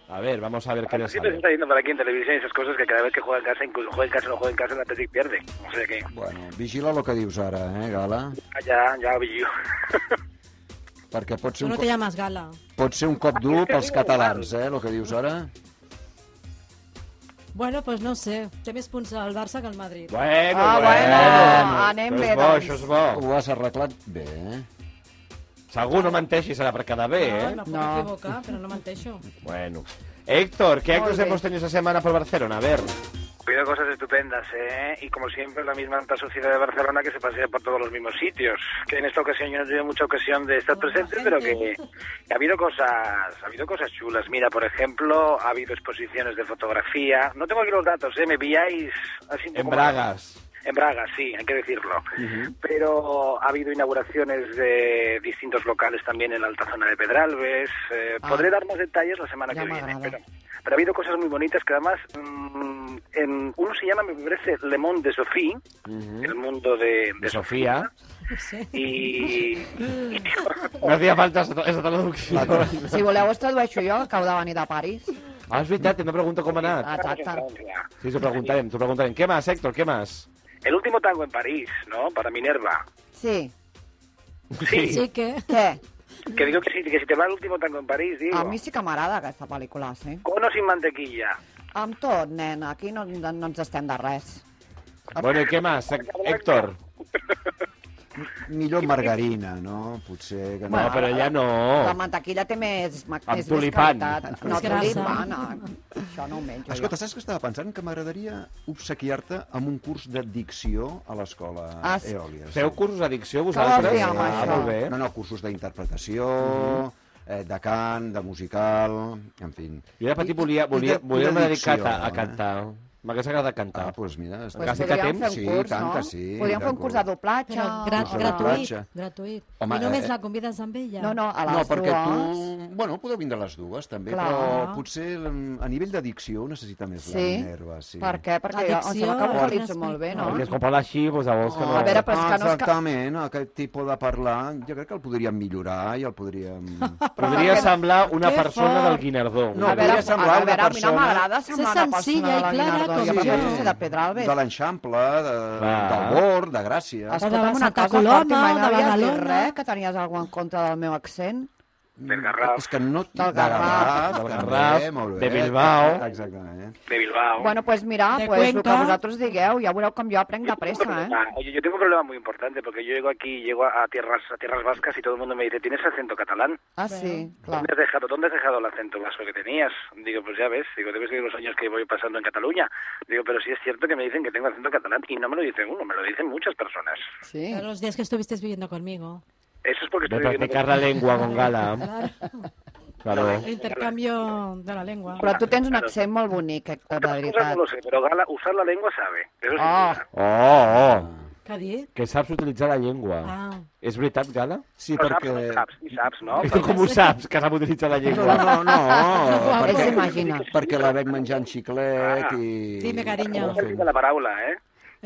Speaker 2: A ver, vamos a ver qué le
Speaker 5: Siempre se
Speaker 2: sale.
Speaker 5: está diciendo por aquí en televisión esas cosas que cada vez que juega en casa, incluso juega en casa, no juega en casa, el Atlético pierde. O sea que
Speaker 6: Bueno, vigila el que dius ara, eh, Gala?
Speaker 5: ya, ya, Billu. [laughs]
Speaker 6: Perquè pot
Speaker 4: Tu
Speaker 6: ser un,
Speaker 4: no te
Speaker 6: cop,
Speaker 4: llamas Gala.
Speaker 6: pot ser un cop dur pels catalans, eh, el que dius ara.
Speaker 4: Bueno, doncs no ho sé. Té més punts al Barça que al Madrid.
Speaker 2: Bueno,
Speaker 3: Ah, bueno, anem
Speaker 2: Això
Speaker 3: bé,
Speaker 2: és bo,
Speaker 3: doncs.
Speaker 2: això és
Speaker 4: Oh.
Speaker 2: bo.
Speaker 6: Ho has arreglat bé, eh?
Speaker 2: Segur no menteixis ara per quedar bé,
Speaker 4: No,
Speaker 2: eh?
Speaker 4: em puc
Speaker 3: No.
Speaker 4: equivocar, però no menteixo.
Speaker 2: Bueno. Héctor, ¿qué actos
Speaker 3: bé.
Speaker 2: hemos tenido esta semana por Barcelona? A ver.
Speaker 5: Cuidado cosas estupendas, ¿eh? Y como siempre, la misma alta sociedad de Barcelona que se pasea por todos los mismos sitios. Que en esta ocasión yo no tuve mucha ocasión de estar
Speaker 4: Buena
Speaker 5: presente,
Speaker 4: gente.
Speaker 5: pero que ha habido cosas, ha habido cosas chulas. Mira, por ejemplo, ha habido exposiciones de fotografía. No tengo aquí los datos, ¿eh? Me pilláis así un
Speaker 2: En
Speaker 5: poco
Speaker 2: Bragas.
Speaker 5: En Braga, sí, hay que decirlo. Pero ha habido inauguraciones de distintos locales también en la alta zona de Pedralbes. Eh,
Speaker 3: Ah.
Speaker 5: Podré dar más detalles la semana
Speaker 3: Ya
Speaker 5: que
Speaker 3: me
Speaker 5: viene.
Speaker 3: agrada.
Speaker 5: Pero, pero ha habido cosas muy bonitas que además, mm, en, uno se llama, me parece, Le Monde de Sophie, el mundo de,
Speaker 2: De
Speaker 5: de Sophie.
Speaker 2: Sofía.
Speaker 4: No sé.
Speaker 5: Y,
Speaker 3: [laughs]
Speaker 2: No hacía falta esa, esa traducción.
Speaker 3: Si voleu us tradueixo jo, que heu de venir de París.
Speaker 2: Ah, és veritat, també pregunto com ha
Speaker 6: Ah.
Speaker 2: anat.
Speaker 5: Estamos en
Speaker 3: Exacte.
Speaker 5: Francia.
Speaker 2: Sí, t'ho preguntarem, t'ho preguntarem. Què més, Héctor, què més?
Speaker 5: El último tango en París, ¿no? Para Minerva.
Speaker 3: Sí,
Speaker 5: Sí,
Speaker 4: Sí que...
Speaker 3: què?
Speaker 5: que digo que si, que si te va el último tango en París, digo.
Speaker 3: A mi sí que m'agrada aquesta pel·lícula, sí.
Speaker 5: Con o sin mantequilla.
Speaker 3: Amb tot, nen, aquí no, no ens estem de res.
Speaker 6: Ah.
Speaker 2: Bueno, i què més, Héctor?
Speaker 6: Millor margarina, no? Potser que no.
Speaker 2: No, però ja no.
Speaker 3: La mantequilla té més, ma-
Speaker 2: Oh. Amb
Speaker 3: és més
Speaker 2: tulipan.
Speaker 3: qualitat. No,
Speaker 4: És grassa.
Speaker 3: tulipan, no. això no ho menjo
Speaker 6: Escolta, saps que estava pensant? Que m'agradaria obsequiar-te amb un curs de dicció a l'escola
Speaker 3: Ah, sí.
Speaker 6: Eòlia.
Speaker 2: Feu cursos d'adicció
Speaker 3: Què
Speaker 2: vosaltres?
Speaker 3: vols dir amb
Speaker 2: ah,
Speaker 3: això?
Speaker 2: molt bé.
Speaker 6: No, no, cursos d'interpretació,
Speaker 3: Mm-hmm.
Speaker 6: eh, de cant, de musical, en fi.
Speaker 2: Jo de petit volia,
Speaker 6: I- i
Speaker 2: volia,
Speaker 6: de- i
Speaker 2: volia
Speaker 6: de
Speaker 2: m'he
Speaker 6: dicció,
Speaker 2: dedicat a, a
Speaker 6: eh?
Speaker 2: cantar. M'hagués agradat cantar.
Speaker 6: Ah, doncs mira... està-
Speaker 3: Pues
Speaker 2: Quasi que
Speaker 3: podríem
Speaker 2: temps.
Speaker 3: fer un
Speaker 6: Sí,
Speaker 3: curs,
Speaker 6: tant
Speaker 3: no?
Speaker 6: que sí,
Speaker 3: Podríem fer un
Speaker 6: d'acord.
Speaker 3: curs de doblatge.
Speaker 4: Però grat,
Speaker 6: no,
Speaker 4: gratuït,
Speaker 6: platja.
Speaker 4: gratuït.
Speaker 6: Home,
Speaker 4: I només
Speaker 6: eh,
Speaker 4: la convides amb ella?
Speaker 3: No, no, a les
Speaker 6: No, perquè
Speaker 3: dues.
Speaker 6: tu... Bueno, podeu vindre a les dues, també,
Speaker 3: Clar.
Speaker 6: però potser mm, a nivell d'adicció necessita més la
Speaker 3: Sí?
Speaker 6: Minerva. Sí.
Speaker 3: Per què? Perquè jo, em sembla que
Speaker 4: Addicció,
Speaker 3: ho vocalitzo
Speaker 4: eh?
Speaker 3: molt bé, no?
Speaker 2: Perquè és com parlar així, doncs llavors que no...
Speaker 3: A veure, però és que no és que-
Speaker 6: Exactament, aquest tipus de parlar, jo crec que el podríem millorar i el podríem...
Speaker 3: [laughs]
Speaker 2: Podria
Speaker 3: que-
Speaker 2: semblar una
Speaker 4: Que
Speaker 2: persona
Speaker 4: fort.
Speaker 2: del Guinardó.
Speaker 6: No,
Speaker 3: a veure,
Speaker 6: podria semblar
Speaker 3: a,
Speaker 6: una
Speaker 3: veure, a mi no
Speaker 6: persona-
Speaker 3: m'agrada semblar una
Speaker 4: senzilla
Speaker 3: persona
Speaker 4: i
Speaker 3: de la
Speaker 4: clara
Speaker 3: Guinardó.
Speaker 4: com
Speaker 3: Jo
Speaker 4: jo.
Speaker 3: prefereixo ser de Pedralbes.
Speaker 6: de l'Eixample, de,
Speaker 2: Clar.
Speaker 6: del Bor, de Gràcia.
Speaker 4: Es-
Speaker 3: Escolta'm
Speaker 4: de
Speaker 3: una
Speaker 4: Santa
Speaker 3: cosa,
Speaker 4: Coloma,
Speaker 3: Corti, mai
Speaker 4: de
Speaker 3: m'havies dit
Speaker 4: Badalona.
Speaker 3: res, que tenies alguna en contra del meu accent.
Speaker 5: Del Garraf.
Speaker 6: És que no...
Speaker 3: Del Garraf.
Speaker 2: Del
Speaker 6: també,
Speaker 2: Garraf,
Speaker 6: eh, molt
Speaker 2: de
Speaker 6: bé.
Speaker 2: Bilbao.
Speaker 6: Exactament. eh.
Speaker 5: De Bilbao.
Speaker 3: Bueno, doncs pues mira,
Speaker 4: De
Speaker 3: pues, el que
Speaker 4: Cuenca.
Speaker 3: vosaltres digueu, ja veureu com jo aprenc de
Speaker 5: Tengo un
Speaker 3: pressa, eh?
Speaker 5: problema. ah, Oye, yo tengo un problema muy importante porque yo llego aquí, llego a a tierras a tierras vascas y todo el mundo me dice, ¿tienes acento catalán?
Speaker 3: Ah, sí, clar.
Speaker 5: ¿Dónde has dejado, dónde has dejado el acento vasco que tenías? Digo, pues ya ves, digo, debes de los años que voy pasando en Cataluña. Digo, pero sí es cierto que me dicen que tengo acento catalán y no me lo dicen uno, me lo dicen muchas personas.
Speaker 3: Sí.
Speaker 4: Pero los días que estuviste viviendo conmigo.
Speaker 5: Eso es porque
Speaker 2: De
Speaker 5: estoy viviendo...
Speaker 2: practicar la lengua con
Speaker 4: [laughs]
Speaker 2: gala. Claro.
Speaker 4: El intercambio de la lengua.
Speaker 3: Però tu tens un accent molt bonic, Héctor, de
Speaker 5: Otras cosas
Speaker 3: veritat.
Speaker 5: no lo sé, pero Gala, usar la lengua sabe. Eso sí.
Speaker 3: Ah.
Speaker 2: Oh, oh.
Speaker 4: Què dir?
Speaker 2: Que saps utilitzar la llengua.
Speaker 4: Ah.
Speaker 2: És veritat, Gala?
Speaker 6: Sí,
Speaker 5: Però
Speaker 6: perquè...
Speaker 5: saps, saps, i saps, no?
Speaker 2: I tu [laughs] com ho saps, que sap utilitzar la
Speaker 6: No,
Speaker 2: llengua?
Speaker 6: no, no,
Speaker 3: És
Speaker 6: perquè,
Speaker 3: imaginar.
Speaker 6: perquè la veig menjant xiclet i...
Speaker 4: Dime, cariño.
Speaker 5: En el bon sentit de la paraula, eh?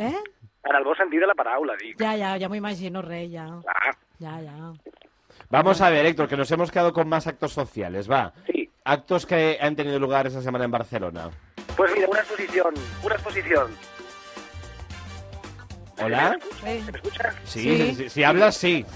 Speaker 4: Eh?
Speaker 5: En el bon sentit de la paraula, dic.
Speaker 4: Ya, ya, ya me imagino, rey, ya.
Speaker 5: Ah,
Speaker 4: Ya, ya.
Speaker 2: Vamos a ver, Héctor, que nos hemos quedado con más actos sociales, va.
Speaker 5: sí.
Speaker 2: Actos que han tenido lugar esta semana en Barcelona.
Speaker 5: Pues mira, una exposición, una exposición.
Speaker 2: ¿Hola?
Speaker 4: Eh,
Speaker 5: ¿Me escuchas?
Speaker 2: Sí, sí, sí, si hablas, sí.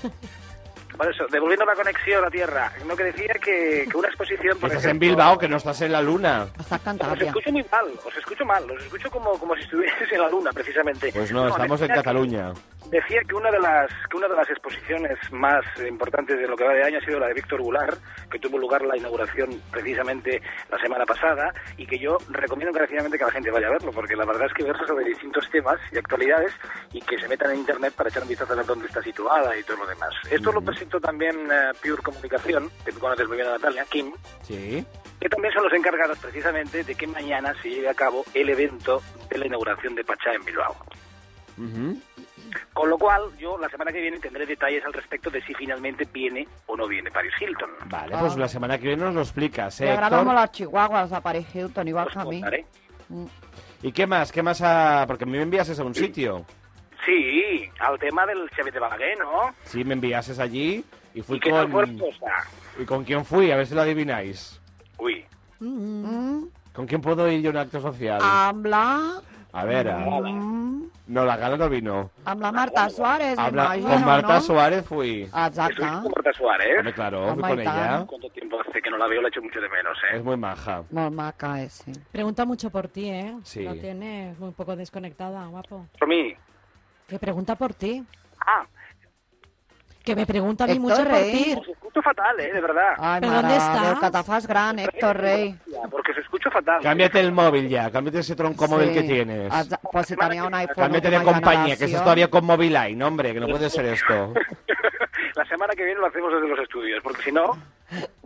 Speaker 5: Por eso, devolviendo la conexión a tierra. No que decía que, que una exposición...
Speaker 2: Que
Speaker 5: por
Speaker 2: estás en
Speaker 5: ejemplo-
Speaker 2: Bilbao, que no estás en la luna.
Speaker 3: Estàs
Speaker 5: Os
Speaker 3: cantant, ja.
Speaker 5: escucho muy mal, os escucho mal, os escucho como, como si estuvieses en la luna, precisamente.
Speaker 2: Pues no, estamos en
Speaker 5: decía que-
Speaker 2: Cataluña.
Speaker 5: Decía que una de las que una de las exposiciones más importantes de lo que va de año ha sido la de Víctor Goulart, que tuvo lugar la inauguración precisamente la semana pasada y que yo recomiendo encarecidamente que la gente vaya a verlo, porque la verdad es que versa sobre distintos temas y actualidades y que se metan en internet para echar un vistazo a ver dónde está situada y todo lo demás. Esto lo presentó también eh, Pure Comunicación, que tú conoces muy bien a Natalia, Kim,
Speaker 2: Sí.
Speaker 5: que también son los encargados precisamente de que mañana se lleve a cabo el evento de la inauguración de Pachá en Bilbao.
Speaker 2: Ujú.
Speaker 5: Con lo cual, yo la semana que viene tendré detalles al respecto de si finalmente viene o no viene Paris Hilton.
Speaker 2: Vale, pues
Speaker 3: Ah.
Speaker 2: la semana que viene nos lo explicas,
Speaker 3: Li
Speaker 2: ¿eh,
Speaker 3: agraden molt
Speaker 2: Héctor?
Speaker 3: les chihuahuas de Paris Hilton, igual
Speaker 5: Os
Speaker 3: que a mi.
Speaker 5: Pues contaré.
Speaker 2: ¿Y qué más? ¿Qué más? ha- Porque me enviases a un sitio.
Speaker 5: Sí, al tema del Chevy de Balaguer, ¿no?
Speaker 2: Sí, me enviases allí y fui
Speaker 5: ¿Y qué tal fue
Speaker 2: con...
Speaker 5: el cosa?
Speaker 2: ¿Y con quién fui? A ver si lo adivináis.
Speaker 5: Uy,
Speaker 4: mm,
Speaker 3: Mm,
Speaker 2: ¿Con quién puedo ir yo a un acto social?
Speaker 3: amb la...
Speaker 2: A ver, a-
Speaker 3: Mm,
Speaker 2: no, la gala no vino.
Speaker 3: amb la Marta Suárez,
Speaker 2: Habla-
Speaker 3: m'imagino,
Speaker 2: con Marta
Speaker 3: no? Ah.
Speaker 2: Suárez fui.
Speaker 5: estoy con
Speaker 3: Exacte.
Speaker 5: Marta Suárez.
Speaker 2: Hombre, claro, fui
Speaker 3: Hombre,
Speaker 2: con
Speaker 3: y
Speaker 2: ella.
Speaker 3: tal.
Speaker 5: ¿Cuánto tiempo hace que no la veo? La echo mucho de menos, ¿eh?
Speaker 2: Es muy maja.
Speaker 3: Molt maca, és, sí.
Speaker 4: Pregunta mucho por ti, ¿eh?
Speaker 2: Sí.
Speaker 4: Lo tienes un poco desconectada, guapo.
Speaker 5: Por mí.
Speaker 4: Que pregunta por ti.
Speaker 5: Ah,
Speaker 4: Que me pregunta a mí
Speaker 3: Héctor,
Speaker 4: mucho por
Speaker 3: ¿eh?
Speaker 4: ti.
Speaker 5: os escucho fatal, ¿eh? De verdad.
Speaker 2: Ah,
Speaker 3: Ai,
Speaker 4: Però
Speaker 3: mare,
Speaker 4: on estàs?
Speaker 3: Déu, que te fas gran, Héctor Rey.
Speaker 5: Ya, Porque os escucho fatal.
Speaker 2: Cámbiate el móvil ya, cámbiate ese tronco móvil que tienes.
Speaker 3: Exa- Pues si tenia un iPhone
Speaker 2: Cámbiate de
Speaker 3: última
Speaker 2: compañía, que es
Speaker 3: generació.
Speaker 2: historia con Moviline, hombre, que no puede ser esto.
Speaker 5: [laughs] la semana que viene lo hacemos desde los estudios, porque si no...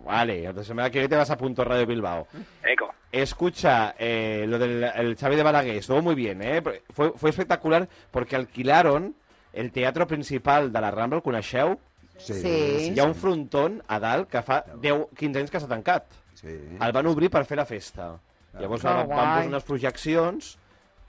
Speaker 2: Vale, entonces semana que viene te vas a Punto Radio Bilbao.
Speaker 5: Eco.
Speaker 2: Escucha, eh, lo del el Xavi de Balaguer estuvo muy bien, ¿eh? Fue, fue espectacular porque alquilaron el teatro principal de la Rambla, el coneixeu?
Speaker 3: Sí.
Speaker 2: Hi ha un frontón a dalt que fa 10, 15 anys que s'ha tancat.
Speaker 6: Sí.
Speaker 2: El van obrir per fer la festa. Llavors
Speaker 3: Ah,
Speaker 2: van, van
Speaker 3: guai.
Speaker 2: posar unes projeccions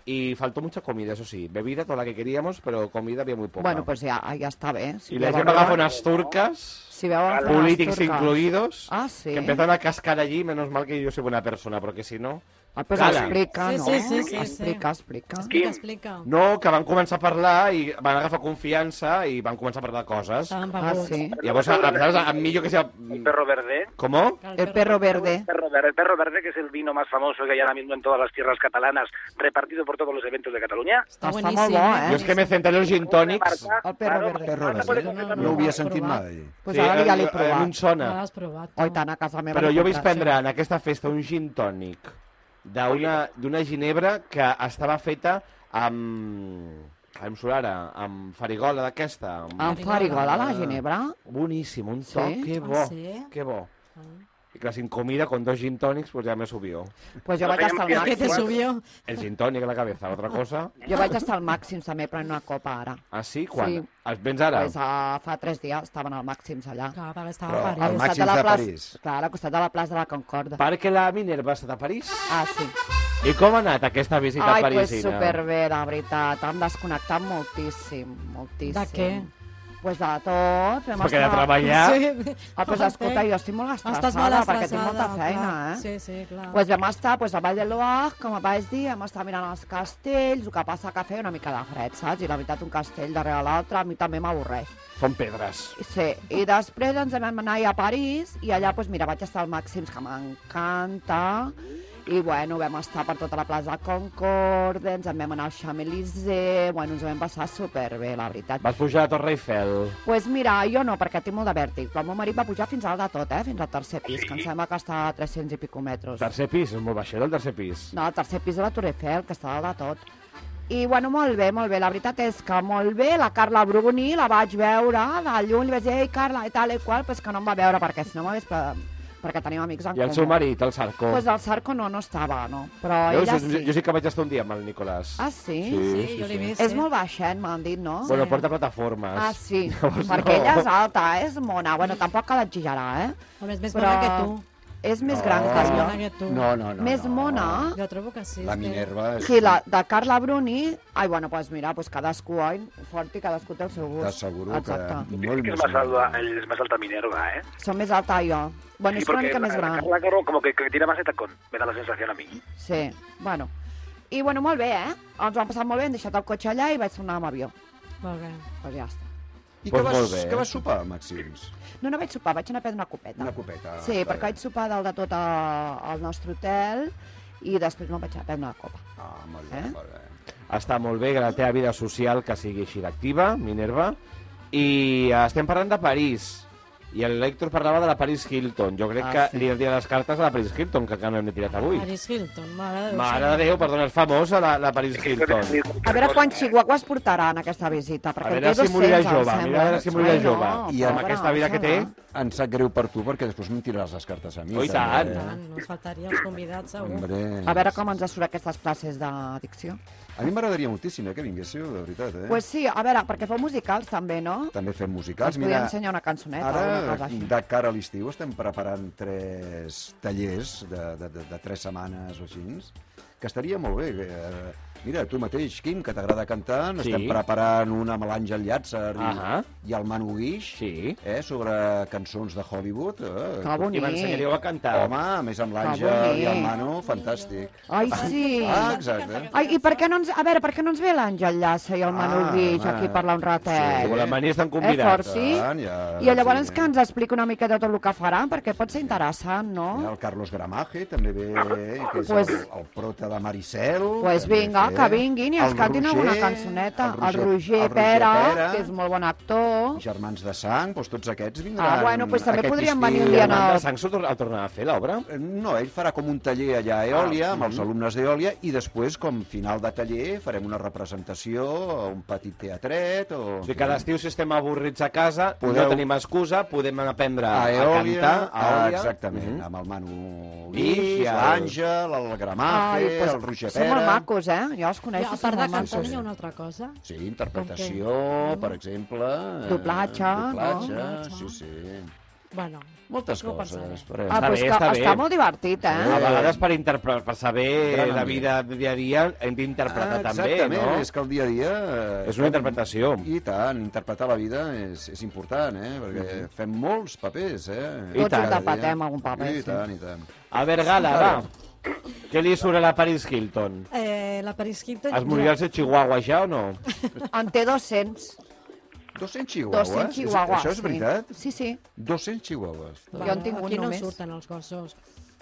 Speaker 2: i faltó mucha comida, eso sí. Bebida, toda la que queríamos, pero comida había muy poca.
Speaker 3: Bueno, pues ja, ja està bé. Si
Speaker 2: y la
Speaker 3: veuen-
Speaker 2: gent va agafar unes turques,
Speaker 3: Si veuen
Speaker 5: Vale.
Speaker 3: unes
Speaker 2: polítics
Speaker 3: turques.
Speaker 2: incluidos,
Speaker 3: Ah, sí?
Speaker 2: que empezaron a cascar allí, menos mal que yo soy buena persona, porque si no...
Speaker 3: Ah, pues
Speaker 2: Gala.
Speaker 3: explica,
Speaker 4: Sí,
Speaker 3: no?
Speaker 4: sí, sí, sí, sí.
Speaker 3: Explica, explica.
Speaker 5: Kim.
Speaker 4: Explica, explica.
Speaker 2: No, que van començar a parlar i van agafar confiança i van començar a parlar de coses.
Speaker 4: Estaban
Speaker 3: Ah,
Speaker 4: babuts.
Speaker 3: sí.
Speaker 2: Llavors, a, a, a, a mi jo que sé...
Speaker 5: El perro verde.
Speaker 2: ¿Cómo?
Speaker 4: Claro,
Speaker 3: El perro verde.
Speaker 5: El perro, verde, el perro verde, que es el vino más famoso que hay ahora mismo en todas las tierras catalanas, repartido por todos los eventos de Cataluña.
Speaker 4: Está
Speaker 3: Está muy
Speaker 4: buenísimo.
Speaker 3: bo,
Speaker 4: ¿eh?
Speaker 3: ¿eh?
Speaker 2: Jo és que me centré en los gin tònics.
Speaker 5: Marta,
Speaker 3: El perro
Speaker 5: claro,
Speaker 3: verde.
Speaker 6: Perro
Speaker 5: Marta
Speaker 6: verde.
Speaker 5: puede
Speaker 4: No, no,
Speaker 5: confirmar.
Speaker 6: eh? No ho havia sentit
Speaker 4: Provat.
Speaker 6: mai.
Speaker 3: Pues ara ja
Speaker 2: eh,
Speaker 3: l'he
Speaker 2: eh, A mi em
Speaker 3: provat.
Speaker 2: sona.
Speaker 4: No l'has provat.
Speaker 3: Oi, tant, a casa meva.
Speaker 2: Però
Speaker 3: l'he
Speaker 2: jo vaig
Speaker 3: comprat,
Speaker 2: prendre en aquesta festa un gin tònic d'una d'una ginebra que estava feta amb... Em sona ara, amb farigola d'aquesta.
Speaker 3: sí.
Speaker 2: Amb...
Speaker 3: Amb farigola, eh,
Speaker 2: Ah.
Speaker 3: la Ginebra.
Speaker 2: Boníssim, un
Speaker 3: Ah. Sí? Ah.
Speaker 2: toc, que bo,
Speaker 4: Ah, sí?
Speaker 2: que bo. I clar, sin comida, con dos gin tònics, pues ja me subió.
Speaker 3: Pues jo
Speaker 5: No
Speaker 3: vaig
Speaker 5: fèiem
Speaker 3: estar al
Speaker 5: pies.
Speaker 4: Que te
Speaker 5: Bueno.
Speaker 3: màxim.
Speaker 4: subió.
Speaker 2: El gin tònic a la cabeza, altra cosa.
Speaker 3: Jo vaig estar al màxim, també, prenent una copa ara.
Speaker 2: Ah, sí? Quan?
Speaker 3: Sí.
Speaker 2: Els vens ara?
Speaker 3: Pues, a, fa tres dies estaven al màxims allà.
Speaker 4: Claro, perquè estava
Speaker 6: Però
Speaker 4: a
Speaker 3: Al
Speaker 6: al
Speaker 4: París.
Speaker 6: Max-
Speaker 3: costat
Speaker 6: Màxims
Speaker 3: la
Speaker 6: de
Speaker 3: plaça-
Speaker 6: París.
Speaker 3: Clar, al costat de la plaça de la Concorda.
Speaker 2: Perquè la Minerva està a París.
Speaker 3: Ah, sí.
Speaker 2: I com ha anat aquesta visita
Speaker 3: Ai, pues
Speaker 2: parisina?
Speaker 3: superbé, de veritat. Hem desconnectat moltíssim, moltíssim.
Speaker 4: De què?
Speaker 3: Pues de tot. Vam
Speaker 2: Perquè de treballar...
Speaker 4: Sí.
Speaker 3: Ah, pues escolta, jo estic molt
Speaker 4: Estàs molt
Speaker 3: estressada, perquè tinc molta
Speaker 4: estressada,
Speaker 3: feina,
Speaker 4: clar.
Speaker 3: eh?
Speaker 4: Sí, sí, clar.
Speaker 3: Pues vam estar pues, a Vall de l'Oach, com vaig dir, vam estar mirant els castells, el que passa que feia una mica de fred, saps? I la veritat, un castell darrere l'altre, a mi també m'avorreix.
Speaker 2: Són pedres.
Speaker 3: Sí, i després ens vam anar a París i allà, doncs, mira, vaig estar al Màxims, que m'encanta, i, bueno, vam estar per tota la plaça Concorde, ens en vam anar al Champs-Élysées, bueno, ens ho vam passar superbé, la veritat.
Speaker 2: Vas pujar a Torre Eiffel.
Speaker 3: Pues mira, jo no, perquè tinc molt de vèrtic, però el meu marit va pujar fins al de tot, eh? Fins al tercer pis, que em sembla que està a 300 i pico metres.
Speaker 2: Tercer pis, és molt baixet el tercer pis.
Speaker 3: No, el tercer pis de la Torre Eiffel, que està dalt de tot. I, bueno, molt bé, molt bé. La veritat és que molt bé. La Carla Brugoni la vaig veure de lluny. Li vaig dir, ei, Carla, i tal i qual, però és que no em va veure, perquè si no m'hagués pre- perquè tenim amics en
Speaker 2: I el
Speaker 3: comú.
Speaker 2: seu marit, el Sarko.
Speaker 3: Pues el Sarko no, no estava, no. Però
Speaker 2: jo,
Speaker 3: ella
Speaker 2: jo,
Speaker 3: sí.
Speaker 2: jo sí que vaig estar un dia amb el Nicolàs.
Speaker 3: Ah, sí?
Speaker 4: Sí, jo l'he vist. eh?
Speaker 3: És molt baixet, m'han dit, no?
Speaker 2: Bueno, porta plataformes.
Speaker 3: Ah, sí,
Speaker 2: [laughs] Llavors, no.
Speaker 3: perquè ella és alta, és mona. Bueno, tampoc cal exagerar, eh?
Speaker 4: Home, és més
Speaker 3: Però
Speaker 4: bona que tu.
Speaker 3: És més gran que
Speaker 4: Més
Speaker 3: jo.
Speaker 4: bona que tu.
Speaker 6: Oh. No, no, no.
Speaker 3: Més
Speaker 6: no.
Speaker 3: mona?
Speaker 4: Jo trobo que sí.
Speaker 6: La
Speaker 4: és que-
Speaker 6: Minerva és...
Speaker 3: Sí, la de Carla Bruni... Ai, bueno, doncs pues mira, pues cadascú, oi? Fort i cadascú té el seu gust.
Speaker 6: T'asseguro que...
Speaker 3: Exacte.
Speaker 5: Dicen
Speaker 6: Molt
Speaker 5: que es
Speaker 6: més
Speaker 5: más,
Speaker 6: mona.
Speaker 5: alta, es más alta Minerva, ¿eh?
Speaker 3: Som més alta jo. Bueno,
Speaker 5: Sí,
Speaker 3: és una
Speaker 5: porque
Speaker 3: mica més
Speaker 5: la- la
Speaker 3: gran.
Speaker 5: Carla Caro como que, que tira más de tacón, me da la sensación a mí.
Speaker 3: Sí, bueno. I, bueno, molt bé, eh? Ens ho hem passat molt bé, hem deixat el cotxe allà i vaig tornar amb avió.
Speaker 4: Molt bé.
Speaker 3: Doncs ja està.
Speaker 6: I
Speaker 2: Doncs
Speaker 6: què vas,
Speaker 2: molt bé.
Speaker 6: què vas sopar, Maxims?
Speaker 3: No, no vaig sopar, vaig anar a prendre una copeta.
Speaker 6: Una copeta.
Speaker 3: Sí,
Speaker 6: Està
Speaker 3: perquè
Speaker 6: bé.
Speaker 3: vaig sopar dalt de tot al nostre hotel i després me'n vaig anar a prendre una copa.
Speaker 6: Ah, molt bé,
Speaker 3: Eh?
Speaker 6: molt bé.
Speaker 2: Està molt bé que la teva vida social que sigui així d'activa, Minerva. I eh, estem parlant de París. I el Héctor parlava de la Paris Hilton. Jo crec
Speaker 3: Ah,
Speaker 2: que
Speaker 3: sí.
Speaker 2: li hauria de les cartes a la Paris Hilton, que encara no hem tirat avui.
Speaker 4: Paris Hilton, mare de Déu.
Speaker 2: Mare de Déu, perdona, és famosa la, la Paris Hilton.
Speaker 3: A veure
Speaker 5: eh?
Speaker 3: quants chihuahuas portaran aquesta visita,
Speaker 2: A
Speaker 3: perquè en
Speaker 2: veure
Speaker 3: té
Speaker 2: si morirà
Speaker 3: 200,
Speaker 2: jove, mira
Speaker 3: em sembla.
Speaker 2: a veure si morirà
Speaker 3: Ai, no,
Speaker 2: jove.
Speaker 6: I
Speaker 2: I
Speaker 3: pobre,
Speaker 2: amb aquesta vida que té,
Speaker 3: em sembla.
Speaker 6: Em sap greu per tu, perquè després em tiraràs les cartes a mi.
Speaker 2: Oh, i
Speaker 6: també.
Speaker 2: tant.
Speaker 4: Tant, no ens faltaria els convidats, segur.
Speaker 6: Hombre.
Speaker 3: A veure com ens surt aquestes classes d'adicció.
Speaker 6: A mi m'agradaria moltíssim eh, que vinguéssiu, de veritat, eh?
Speaker 3: Doncs pues sí, a veure, perquè feu musicals també, no?
Speaker 6: També fem musicals.
Speaker 3: Ens podria ensenyar una cançoneta o una
Speaker 6: Ara,
Speaker 3: cosa així.
Speaker 6: de cara a l'estiu, estem preparant tres tallers de, de, de, de tres setmanes o així, que estaria molt bé. eh, Mira, tu mateix, Quim, que t'agrada cantar,
Speaker 2: Sí.
Speaker 6: estem preparant una amb l'Àngel Llàtzer i,
Speaker 2: Ahà.
Speaker 6: i el Manu Guix,
Speaker 2: Sí.
Speaker 6: eh, sobre cançons de Hollywood. Eh?
Speaker 3: Que
Speaker 2: I
Speaker 3: bonic.
Speaker 2: m'ensenyaríeu a cantar.
Speaker 6: Home, a més amb l'Àngel
Speaker 3: bonic.
Speaker 6: i el Manu, fantàstic.
Speaker 3: Ai, sí.
Speaker 6: Ah, exacte.
Speaker 3: Ai, i per què no ens... A veure, per què no ens ve l'Àngel Llassa i el Manu
Speaker 6: Ah,
Speaker 3: Guix
Speaker 6: va.
Speaker 3: aquí a parlar un ratet?
Speaker 2: Com la mania estan
Speaker 3: Eh, fort,
Speaker 2: convidats.
Speaker 3: sí?
Speaker 6: Tant, ja-
Speaker 3: I llavors
Speaker 6: sí.
Speaker 3: que ens expliqui una miqueta tot el que faran, perquè pot ser interessant, no?
Speaker 6: El Carlos Gramaje també ve, eh, que
Speaker 3: Pues-
Speaker 6: és pues, el, el prota de Maricel.
Speaker 3: Pues
Speaker 6: també
Speaker 3: vinga,
Speaker 6: ve.
Speaker 3: que vinguin i ens
Speaker 6: El
Speaker 3: cantin
Speaker 6: Roger,
Speaker 3: alguna cançoneta.
Speaker 6: El Roger, el Roger
Speaker 3: Pera,
Speaker 6: Pera,
Speaker 3: que és molt bon actor.
Speaker 6: Germans de Sang, doncs tots aquests vindran
Speaker 3: Ah, bueno, pues també
Speaker 6: aquest
Speaker 3: podríem
Speaker 6: estiu.
Speaker 3: venir un dia a-
Speaker 2: Amanda Sanz ho tor- ho tornarà a fer, l'obra?
Speaker 6: No, ell farà com un taller allà a
Speaker 3: Ah,
Speaker 6: Eòlia, amb els alumnes d'Eòlia, i després, com final de taller, farem una representació, un petit teatret, o...
Speaker 2: O sigui, cada estiu, si estem avorrits a casa, Podeu...
Speaker 6: Podeu-
Speaker 2: no tenim excusa, podem aprendre a,
Speaker 6: a Eòlia,
Speaker 2: cantar. A
Speaker 6: ah,
Speaker 2: Eòlia.
Speaker 6: exactament,
Speaker 2: Mhm.
Speaker 6: amb el Manu
Speaker 2: I
Speaker 6: Guix,
Speaker 2: el-
Speaker 6: l'Àngel, el Gramaje,
Speaker 3: Ai, pues
Speaker 6: el Roger
Speaker 3: són
Speaker 6: Pera...
Speaker 3: molt macos, eh? Jo els
Speaker 4: I
Speaker 3: coneixo,
Speaker 4: a
Speaker 3: són
Speaker 4: part de
Speaker 3: molt macos.
Speaker 4: cantar,
Speaker 6: sí.
Speaker 4: hi ha una altra cosa.
Speaker 6: Sí, interpretació, per exemple... eh,
Speaker 3: Doblatge, no?
Speaker 6: Doblatge,
Speaker 4: Doblatge.
Speaker 6: sí, sí.
Speaker 4: Bueno,
Speaker 6: Moltes
Speaker 4: No ho
Speaker 6: coses.
Speaker 4: pensaré.
Speaker 6: Però...
Speaker 3: Ah,
Speaker 2: Està
Speaker 3: pues
Speaker 2: bé,
Speaker 3: que
Speaker 2: està bé.
Speaker 3: està molt divertit,
Speaker 2: A
Speaker 3: eh?
Speaker 2: vegades, per, interpre- per saber
Speaker 6: Gran
Speaker 2: la
Speaker 6: ambient. Ah,
Speaker 2: vida de dia a dia, hem d'interpretar també,
Speaker 6: exactament,
Speaker 2: no?
Speaker 6: és que el dia a dia... eh,
Speaker 2: És una interpretació.
Speaker 6: I tant, interpretar la vida és, és important, eh? Perquè fem molts papers, eh?
Speaker 2: I Tots tant.
Speaker 3: interpretem algun paper,
Speaker 6: I
Speaker 3: sí.
Speaker 6: tant, i tant.
Speaker 2: A veure, Gala, va. Què li surt a la Paris Hilton?
Speaker 4: eh, la Paris Hilton...
Speaker 2: Es morirà el seu chihuahua ja o no?
Speaker 3: En té 200.
Speaker 6: 200 chihuahuas?
Speaker 3: 200
Speaker 6: És-
Speaker 3: chihuahuas.
Speaker 6: Això és veritat?
Speaker 3: Sí, sí.
Speaker 6: 200 chihuahuas.
Speaker 3: Jo en tinc un
Speaker 4: aquí no
Speaker 3: només.
Speaker 4: surten els gossos.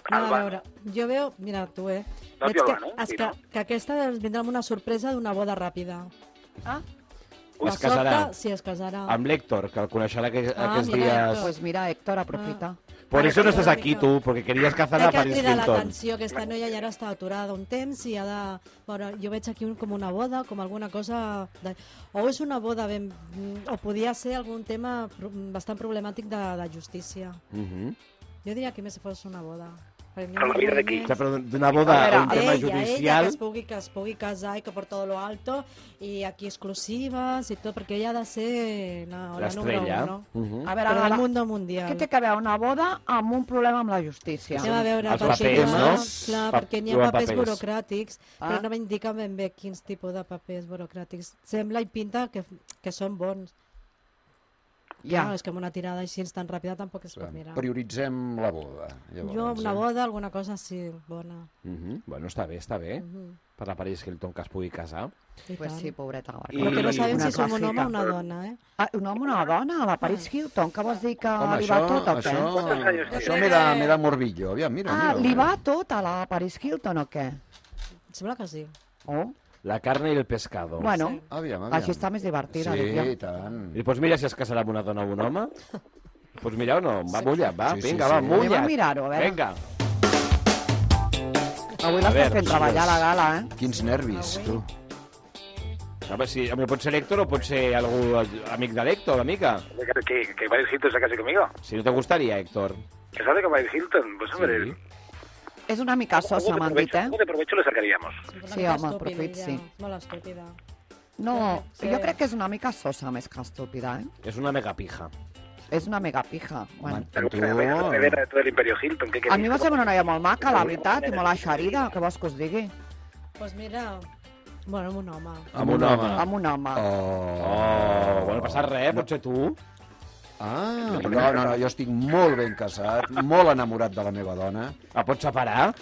Speaker 5: Ah,
Speaker 4: No, a
Speaker 5: va.
Speaker 4: veure, jo veu... Mira, tu, eh?
Speaker 5: No
Speaker 4: Veig
Speaker 5: viola,
Speaker 4: que,
Speaker 5: no?
Speaker 4: és
Speaker 5: Sí,
Speaker 4: que,
Speaker 5: no?
Speaker 4: que aquesta ens vindrà amb una sorpresa d'una boda ràpida.
Speaker 3: Ah,
Speaker 2: Es casarà.
Speaker 4: Sí, es casarà.
Speaker 2: Amb l'Héctor, que el coneixerà aquests,
Speaker 4: Ah,
Speaker 2: aquests
Speaker 4: mira,
Speaker 2: dies.
Speaker 4: Héctor.
Speaker 3: Eh, pues mira, Héctor, aprofita.
Speaker 6: Ah.
Speaker 2: Por eso no estás aquí, tu, porque querías cazar
Speaker 4: Crec
Speaker 2: a
Speaker 4: que ha
Speaker 2: Paris
Speaker 4: cridat
Speaker 2: Hilton.
Speaker 4: l'atenció aquesta noia i ara està aturada un temps i ha de... Bueno, jo veig aquí un, com una boda, com alguna cosa... De... O és una boda ben... O podia ser algun tema pro- bastant problemàtic de, de justícia.
Speaker 2: Mhm.
Speaker 4: Jo diria que més fos una boda. Perquè
Speaker 5: Però la vida de qui?
Speaker 2: O sea, però d'una boda
Speaker 3: A veure,
Speaker 2: a un tema
Speaker 4: Eh, ella, ella,
Speaker 2: judicial...
Speaker 4: que es pugui, que es pugui casar i que per todo lo alto i aquí exclusives i tot, perquè ella ha de ser la, la número
Speaker 2: L'estrella.
Speaker 4: uno.
Speaker 2: Mhm.
Speaker 3: A veure,
Speaker 4: Però del
Speaker 3: ara,
Speaker 4: mundo mundial.
Speaker 3: què té que veure una boda amb un problema amb la justícia?
Speaker 4: Anem a veure,
Speaker 2: Els
Speaker 4: perquè
Speaker 2: papers,
Speaker 4: hi ha,
Speaker 2: no?
Speaker 4: clar,
Speaker 2: Pa-
Speaker 4: perquè n'hi
Speaker 2: diuen
Speaker 4: ha papers,
Speaker 2: papers.
Speaker 4: burocràtics,
Speaker 3: Ah.
Speaker 4: però no m'indica ben bé quins tipus de papers burocràtics. Sembla i pinta que, que són bons.
Speaker 3: Ja.
Speaker 4: Clar, és que amb una tirada així tan ràpida tampoc es pot mirar.
Speaker 6: Prioritzem la boda. Llavors,
Speaker 4: Jo,
Speaker 6: eh?
Speaker 4: una boda, alguna cosa sí, bona.
Speaker 2: Mhm. Bueno, està bé, està bé. Per la Paris Hilton que es pugui casar.
Speaker 4: I
Speaker 3: Pues
Speaker 4: tant.
Speaker 3: sí, pobreta. la
Speaker 2: I-
Speaker 4: Però que no sabem
Speaker 3: Una
Speaker 4: si som un home
Speaker 3: cosita.
Speaker 4: o una Ah. dona, eh?
Speaker 3: Ah, un home o una dona, la Paris Hilton, que vols dir que
Speaker 6: Home,
Speaker 3: li
Speaker 6: això,
Speaker 3: va tot o què?
Speaker 6: això,
Speaker 5: què?
Speaker 6: això me da, me da morbillo. Aviam, mira,
Speaker 3: Ah,
Speaker 6: mira.
Speaker 3: li va tot a la Paris Hilton o què?
Speaker 4: Sembla que sí.
Speaker 3: Oh,
Speaker 2: La carne i el pescado.
Speaker 3: bueno,
Speaker 6: Aviam, aviam.
Speaker 3: així està més divertida,
Speaker 6: Sí,
Speaker 3: dic jo.
Speaker 6: i tant.
Speaker 2: I doncs mira si es casarà amb una dona o un home. Doncs mira o no, va, mulla't, va,
Speaker 6: Sí, sí,
Speaker 2: vinga,
Speaker 6: sí.
Speaker 2: va,
Speaker 6: Anem
Speaker 3: a
Speaker 2: mulla't.
Speaker 3: mirar-ho, a veure.
Speaker 2: Vinga.
Speaker 3: Avui
Speaker 2: A
Speaker 3: l'estem
Speaker 2: veure,
Speaker 3: fent treballar la gala, eh?
Speaker 6: Quins nervis, tu.
Speaker 2: A veure si home, pot ser l'Héctor o pot ser algú amic de l'Héctor, amica.
Speaker 5: Que, que, que varios hitos acá casi conmigo.
Speaker 2: Si no te gustaría, Héctor.
Speaker 5: ¿Sabe que Mike Hilton? Pues hombre,
Speaker 2: Sí.
Speaker 3: És una mica sosa,
Speaker 5: de
Speaker 3: m'han dit,
Speaker 5: provecho,
Speaker 3: eh?
Speaker 5: algo de provecho le sacaríamos.
Speaker 4: Una
Speaker 3: Sí,
Speaker 4: mica
Speaker 3: home,
Speaker 4: estúpida,
Speaker 3: profit,
Speaker 4: ella.
Speaker 3: sí.
Speaker 4: Molt estúpida.
Speaker 3: No,
Speaker 4: Sí.
Speaker 3: jo crec que és una mica sosa més que estúpida, eh?
Speaker 2: És una mega pija.
Speaker 3: És una mega pija. Bueno.
Speaker 5: Pero
Speaker 6: Tú-
Speaker 5: bueno, bueno, heredera de todo el imperio Hilton, ¿qué
Speaker 3: A
Speaker 5: queréis?
Speaker 3: mi va ser una noia molt maca, la veritat, i molt eixerida, què vols que us digui?
Speaker 4: Pues mira, bueno, amb un home.
Speaker 2: Amb un home.
Speaker 3: Amb un home.
Speaker 6: Ah.
Speaker 3: Ah.
Speaker 2: Oh, bueno, passa res,
Speaker 6: No.
Speaker 2: potser tu.
Speaker 6: Ah, no, no, no, jo estic molt ben casat, molt enamorat de la meva dona.
Speaker 2: La pots separar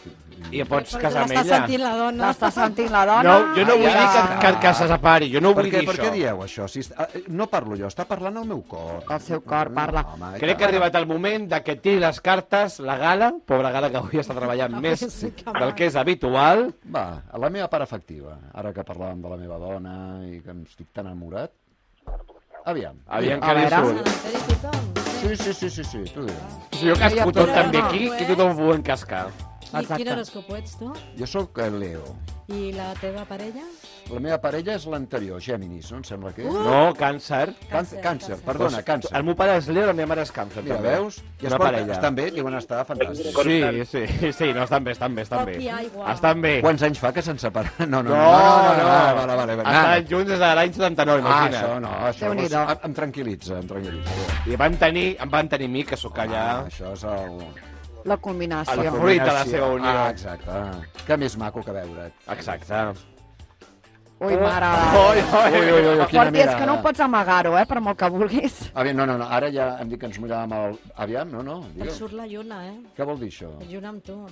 Speaker 2: i et pots
Speaker 4: Perquè
Speaker 2: casar amb
Speaker 4: L'està
Speaker 2: ella. Ah,
Speaker 4: sentint la dona.
Speaker 3: L'està sentint la dona?
Speaker 2: No, jo no vull
Speaker 3: ja.
Speaker 2: dir que, que, que se separi, jo no
Speaker 6: per
Speaker 2: vull
Speaker 6: què,
Speaker 2: dir
Speaker 6: per
Speaker 2: això.
Speaker 6: què dieu això? Si, est- ah, eh, no parlo jo, està parlant el meu cor. Mm,
Speaker 3: El seu cor parla.
Speaker 6: home, i
Speaker 2: Crec que ha
Speaker 6: tant.
Speaker 2: arribat el moment de que tiri les cartes la gala, pobra gala que avui està
Speaker 4: [laughs]
Speaker 2: treballant més
Speaker 4: Sí, que
Speaker 2: del
Speaker 4: mal.
Speaker 2: que és habitual.
Speaker 6: Va, a la meva part afectiva, ara que parlàvem de la meva dona i que em estic tan enamorat. Aviam.
Speaker 2: Aviam
Speaker 3: A
Speaker 2: que li
Speaker 3: veure.
Speaker 2: surt.
Speaker 4: Sedentari tothom. Sí.
Speaker 6: Sí, sí, sí, sí, sí, tu digues.
Speaker 2: Si jo casco tot
Speaker 3: Però
Speaker 2: també
Speaker 3: no,
Speaker 2: aquí,
Speaker 4: eh?
Speaker 2: que tothom ho volen cascar.
Speaker 4: I
Speaker 3: Exacte.
Speaker 4: quin horòscop ets tu?
Speaker 6: Jo sóc el Leo.
Speaker 4: I la teva parella?
Speaker 6: La meva parella és l'anterior, Géminis, no em sembla que és?
Speaker 2: No, càncer.
Speaker 6: Càncer, càncer, perdona,
Speaker 2: Doncs,
Speaker 6: càncer.
Speaker 2: El meu pare és Leo, la meva mare és càncer.
Speaker 6: Mira,
Speaker 2: també.
Speaker 6: veus? I es
Speaker 2: Una
Speaker 6: porta,
Speaker 2: parella.
Speaker 6: estan bé, diuen estar fantàstics.
Speaker 2: Sí, sí, sí, no, estan bé, estan bé, estan
Speaker 4: Foc
Speaker 2: bé.
Speaker 4: i aigua.
Speaker 2: Estan bé.
Speaker 6: Quants anys fa que se'n separen? [laughs] No, no,
Speaker 2: No,
Speaker 6: no, no, no,
Speaker 2: no.
Speaker 6: vale, vale, vale.
Speaker 2: Estan junts des de l'any 79,
Speaker 6: Ah,
Speaker 2: imagina't.
Speaker 6: això no, això
Speaker 3: Déu-n'hi-do.
Speaker 6: doncs, em- em tranquil·litza, em tranquil·litza.
Speaker 2: I van tenir, em van tenir a mi, que sóc allà...
Speaker 6: Ah, això és el...
Speaker 3: La
Speaker 2: A la
Speaker 3: combinació.
Speaker 2: fruit. fruita de la seva unió.
Speaker 6: Ah, exacte. Que més maco que veure't.
Speaker 2: Exacte.
Speaker 3: Ui, mare.
Speaker 6: Oh,
Speaker 2: Oi, oi, oi, oi, oi.
Speaker 3: La Forti, és que no pots amagar-ho, eh, per molt que vulguis.
Speaker 6: Aviam, no, no, no, ara ja hem dit que ens miràvem el... Aviam, no, no,
Speaker 4: Et
Speaker 6: digue'm.
Speaker 4: surt la lluna, eh?
Speaker 6: Què vol dir això?
Speaker 4: Lluna amb tu.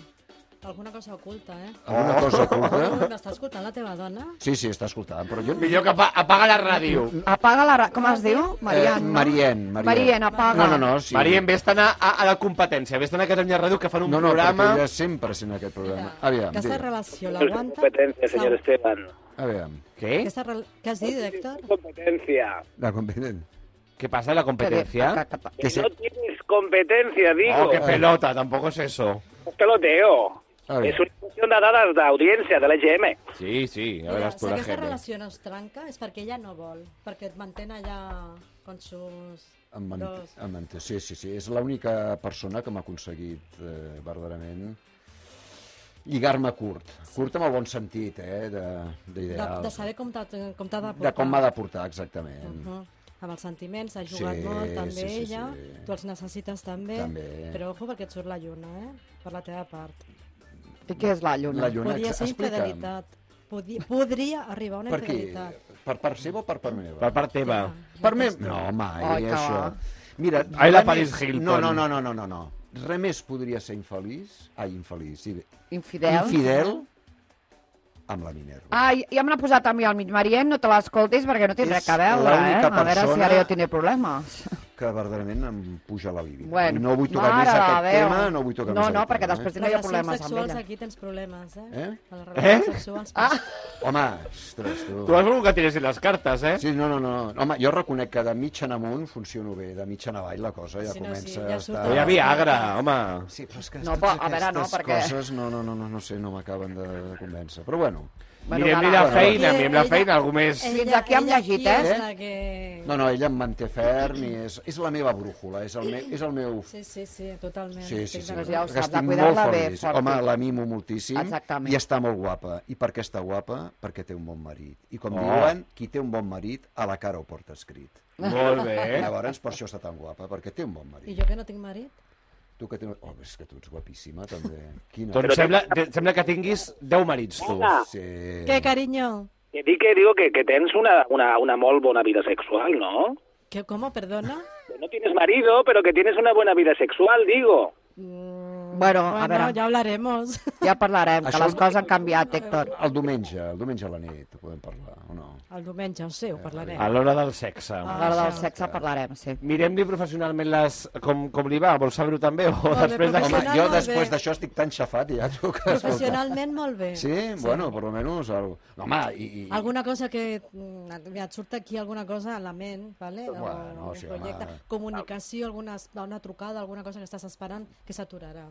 Speaker 4: Alguna cosa oculta, eh?
Speaker 2: Oh.
Speaker 6: Alguna cosa oculta?
Speaker 4: M'està escoltant la teva dona?
Speaker 6: Sí, sí, està escoltant, però jo...
Speaker 2: Millor que apa apaga la ràdio.
Speaker 3: Apaga la... ra- Com es diu? Marian, no?
Speaker 6: Eh, Marien, Marien.
Speaker 3: Marien, apaga.
Speaker 6: No, no, no, sí.
Speaker 2: Marien, vés-te'n a, a, a la competència, vés-te'n a Catalunya Ràdio que fan un
Speaker 6: No, no,
Speaker 2: programa...
Speaker 6: perquè ella sempre sent aquest programa. Aviam,
Speaker 4: Aquesta
Speaker 6: digue'm,
Speaker 4: relació
Speaker 5: Esto es una
Speaker 4: l'aguanta?
Speaker 5: Pues, competencia, señor
Speaker 4: Sau.
Speaker 5: Esteban.
Speaker 6: aviam.
Speaker 2: Què?
Speaker 4: Aquesta rel... Què has dit, Héctor?
Speaker 5: Competencia.
Speaker 6: La competent.
Speaker 2: Què passa, la competència?
Speaker 3: Ah,
Speaker 5: Que no tienes competencia, digo.
Speaker 2: Oh, que pelota, tampoc és eso.
Speaker 5: Es peloteo.
Speaker 6: A ver.
Speaker 5: Es una cuestión de dadas de audiencia de la EGM.
Speaker 2: Sí, sí, a
Speaker 4: Mira,
Speaker 2: veure,
Speaker 4: si
Speaker 2: tu la
Speaker 4: aquesta
Speaker 2: gent.
Speaker 4: relació no es trenca és perquè ella no vol, perquè et manté allà con sus...
Speaker 6: Em ment...
Speaker 4: dos.
Speaker 6: em ment... Sí, sí, sí. És l'única persona que m'ha aconseguit eh, verdaderament lligar-me curt. Curt amb el bon sentit, eh, de-
Speaker 4: De,
Speaker 6: d'ideals.
Speaker 4: de saber com t'ha com t'ha de portar.
Speaker 6: de com m'ha de portar, exactament.
Speaker 4: Uh -huh. Amb els sentiments, ha jugat
Speaker 6: Sí,
Speaker 4: molt també
Speaker 6: sí, sí,
Speaker 4: ella,
Speaker 6: sí.
Speaker 4: tu els necessites també,
Speaker 6: També.
Speaker 4: però ojo perquè et surt la lluna, eh? per la teva part.
Speaker 3: I què és la
Speaker 6: La
Speaker 3: lluna?
Speaker 6: lluna,
Speaker 4: Podria
Speaker 6: ex-
Speaker 4: ser
Speaker 6: explica'm.
Speaker 4: infidelitat, Podria, podria arribar a una
Speaker 6: Per qui?
Speaker 4: infidelitat.
Speaker 6: Per part seva o per part meva?
Speaker 2: Per part teva.
Speaker 6: Per mi? No, mai, eh,
Speaker 3: Ai, que
Speaker 6: això.
Speaker 3: va.
Speaker 6: Mira,
Speaker 2: Ai, la
Speaker 6: res
Speaker 2: Paris
Speaker 6: més-
Speaker 2: Hilton.
Speaker 6: No, no, no, no, no, no, no. Res més podria ser infeliç... Ai, infeliç, sí.
Speaker 3: Infidel? Ah.
Speaker 6: Infidel amb la Minerva.
Speaker 3: Ai, ja me l'ha posat a mi al mig. Marien, no te l'escoltis perquè no té
Speaker 6: És
Speaker 3: res a veure, eh?
Speaker 6: l'única
Speaker 3: A veure si
Speaker 6: persona-
Speaker 3: ara jo tindré problemes.
Speaker 6: Que verdaderament em puja la bíblia.
Speaker 3: Bueno,
Speaker 6: I no vull tocar
Speaker 3: mare
Speaker 6: més
Speaker 3: de
Speaker 6: aquest
Speaker 3: Déu.
Speaker 6: tema, no vull tocar
Speaker 3: No,
Speaker 6: més
Speaker 3: no,
Speaker 6: aquest
Speaker 3: perquè
Speaker 6: tema,
Speaker 3: després-
Speaker 6: Eh?
Speaker 3: No hi ha
Speaker 4: Relacions
Speaker 3: problemes amb
Speaker 4: sexuals
Speaker 3: ella.
Speaker 4: aquí tens problemes, eh?
Speaker 6: Eh?
Speaker 4: A les relacions sexuals... Ah!
Speaker 6: Home, ostres, tu...
Speaker 2: Tu has volgut que tiressin les cartes, eh?
Speaker 6: Sí, no, no, no. Home, jo reconec que de mitja en amunt funciono bé, de mitja en avall la cosa ja
Speaker 4: Si no,
Speaker 6: comença
Speaker 4: sí, ja
Speaker 6: a
Speaker 4: surt
Speaker 6: estar...
Speaker 2: Però hi ha Viagra, home.
Speaker 6: Sí, però és que
Speaker 3: No,
Speaker 6: totes
Speaker 3: però, a veure, no,
Speaker 6: aquestes
Speaker 3: perquè-
Speaker 6: coses no, no, no, no, no sé, no m'acaben de convèncer. Però bueno,
Speaker 3: Bueno,
Speaker 2: mirem-li
Speaker 3: ara-
Speaker 2: la feina,
Speaker 4: Ella-
Speaker 2: mirem la
Speaker 4: ella- Eh.
Speaker 2: feina, algú més...
Speaker 3: Fins aquí hem llegit,
Speaker 4: aquí
Speaker 3: eh?
Speaker 4: És la que...
Speaker 6: no, no, ella em manté ferm i és, és la meva brújula, és el, me, és el meu...
Speaker 4: Sí, sí, sí, totalment.
Speaker 6: Sí, sí, sí.
Speaker 4: Estic
Speaker 3: Doncs ja ho
Speaker 4: d'acord.
Speaker 6: que
Speaker 3: saps,
Speaker 6: estic
Speaker 3: a
Speaker 6: molt
Speaker 3: cuidar-la bé,
Speaker 6: feliç.
Speaker 3: Forti.
Speaker 6: Home, la mimo moltíssim
Speaker 3: Exactament.
Speaker 6: i està molt guapa. I per què està guapa? Perquè té un bon marit. I com
Speaker 2: Oh.
Speaker 6: oh. diuen, qui té un bon marit, a la cara ho porta escrit.
Speaker 2: Molt bé,
Speaker 6: Eh?
Speaker 2: eh?
Speaker 6: Llavors, per això està tan guapa, perquè té un bon
Speaker 4: I
Speaker 6: marit.
Speaker 4: jo que no tinc marit?
Speaker 6: Tu que tens... Oh, és que tu ets guapíssima, també. [laughs] Quina...
Speaker 2: Doncs sembla, te- sembla que tinguis 10 marits, tu.
Speaker 6: Sí.
Speaker 4: Què, carinyo?
Speaker 5: Que di que digo que, que tens una, una, una molt bona vida sexual, ¿no?
Speaker 4: ¿Qué, ¿Cómo? ¿Perdona?
Speaker 5: Que no tienes marido, pero que tienes una buena vida sexual, digo.
Speaker 3: Bueno, a
Speaker 4: Bueno,
Speaker 3: veure,
Speaker 4: ya hablaremos.
Speaker 3: ja parlarem, que
Speaker 6: Això-
Speaker 3: les coses han canviat, Héctor.
Speaker 6: El diumenge, el diumenge a la nit, podem parlar, o no?
Speaker 4: El diumenge, ho sé, ho parlarem.
Speaker 2: A l'hora del sexe.
Speaker 5: Ah,
Speaker 3: A
Speaker 4: Ah.
Speaker 3: l'hora del sexe parlarem, sí.
Speaker 2: Mirem-li professionalment les... Com, com li va? Vols saber-ho també? O
Speaker 4: bé,
Speaker 2: després de...
Speaker 6: Home,
Speaker 4: professional.
Speaker 6: jo
Speaker 4: molt bé.
Speaker 6: després d'això estic tan xafat ja, tu que escolta.
Speaker 4: Professionalment molt bé.
Speaker 6: Sí? Bueno, per almenys... El... Home, i... i...
Speaker 4: Alguna cosa que mm, et et surt aquí alguna cosa a la ment, ¿vale? O
Speaker 6: Bueno,
Speaker 4: un
Speaker 6: sí,
Speaker 4: projecte.
Speaker 6: home.
Speaker 4: Comunicació, alguna, una trucada, alguna cosa que estàs esperant que s'aturarà.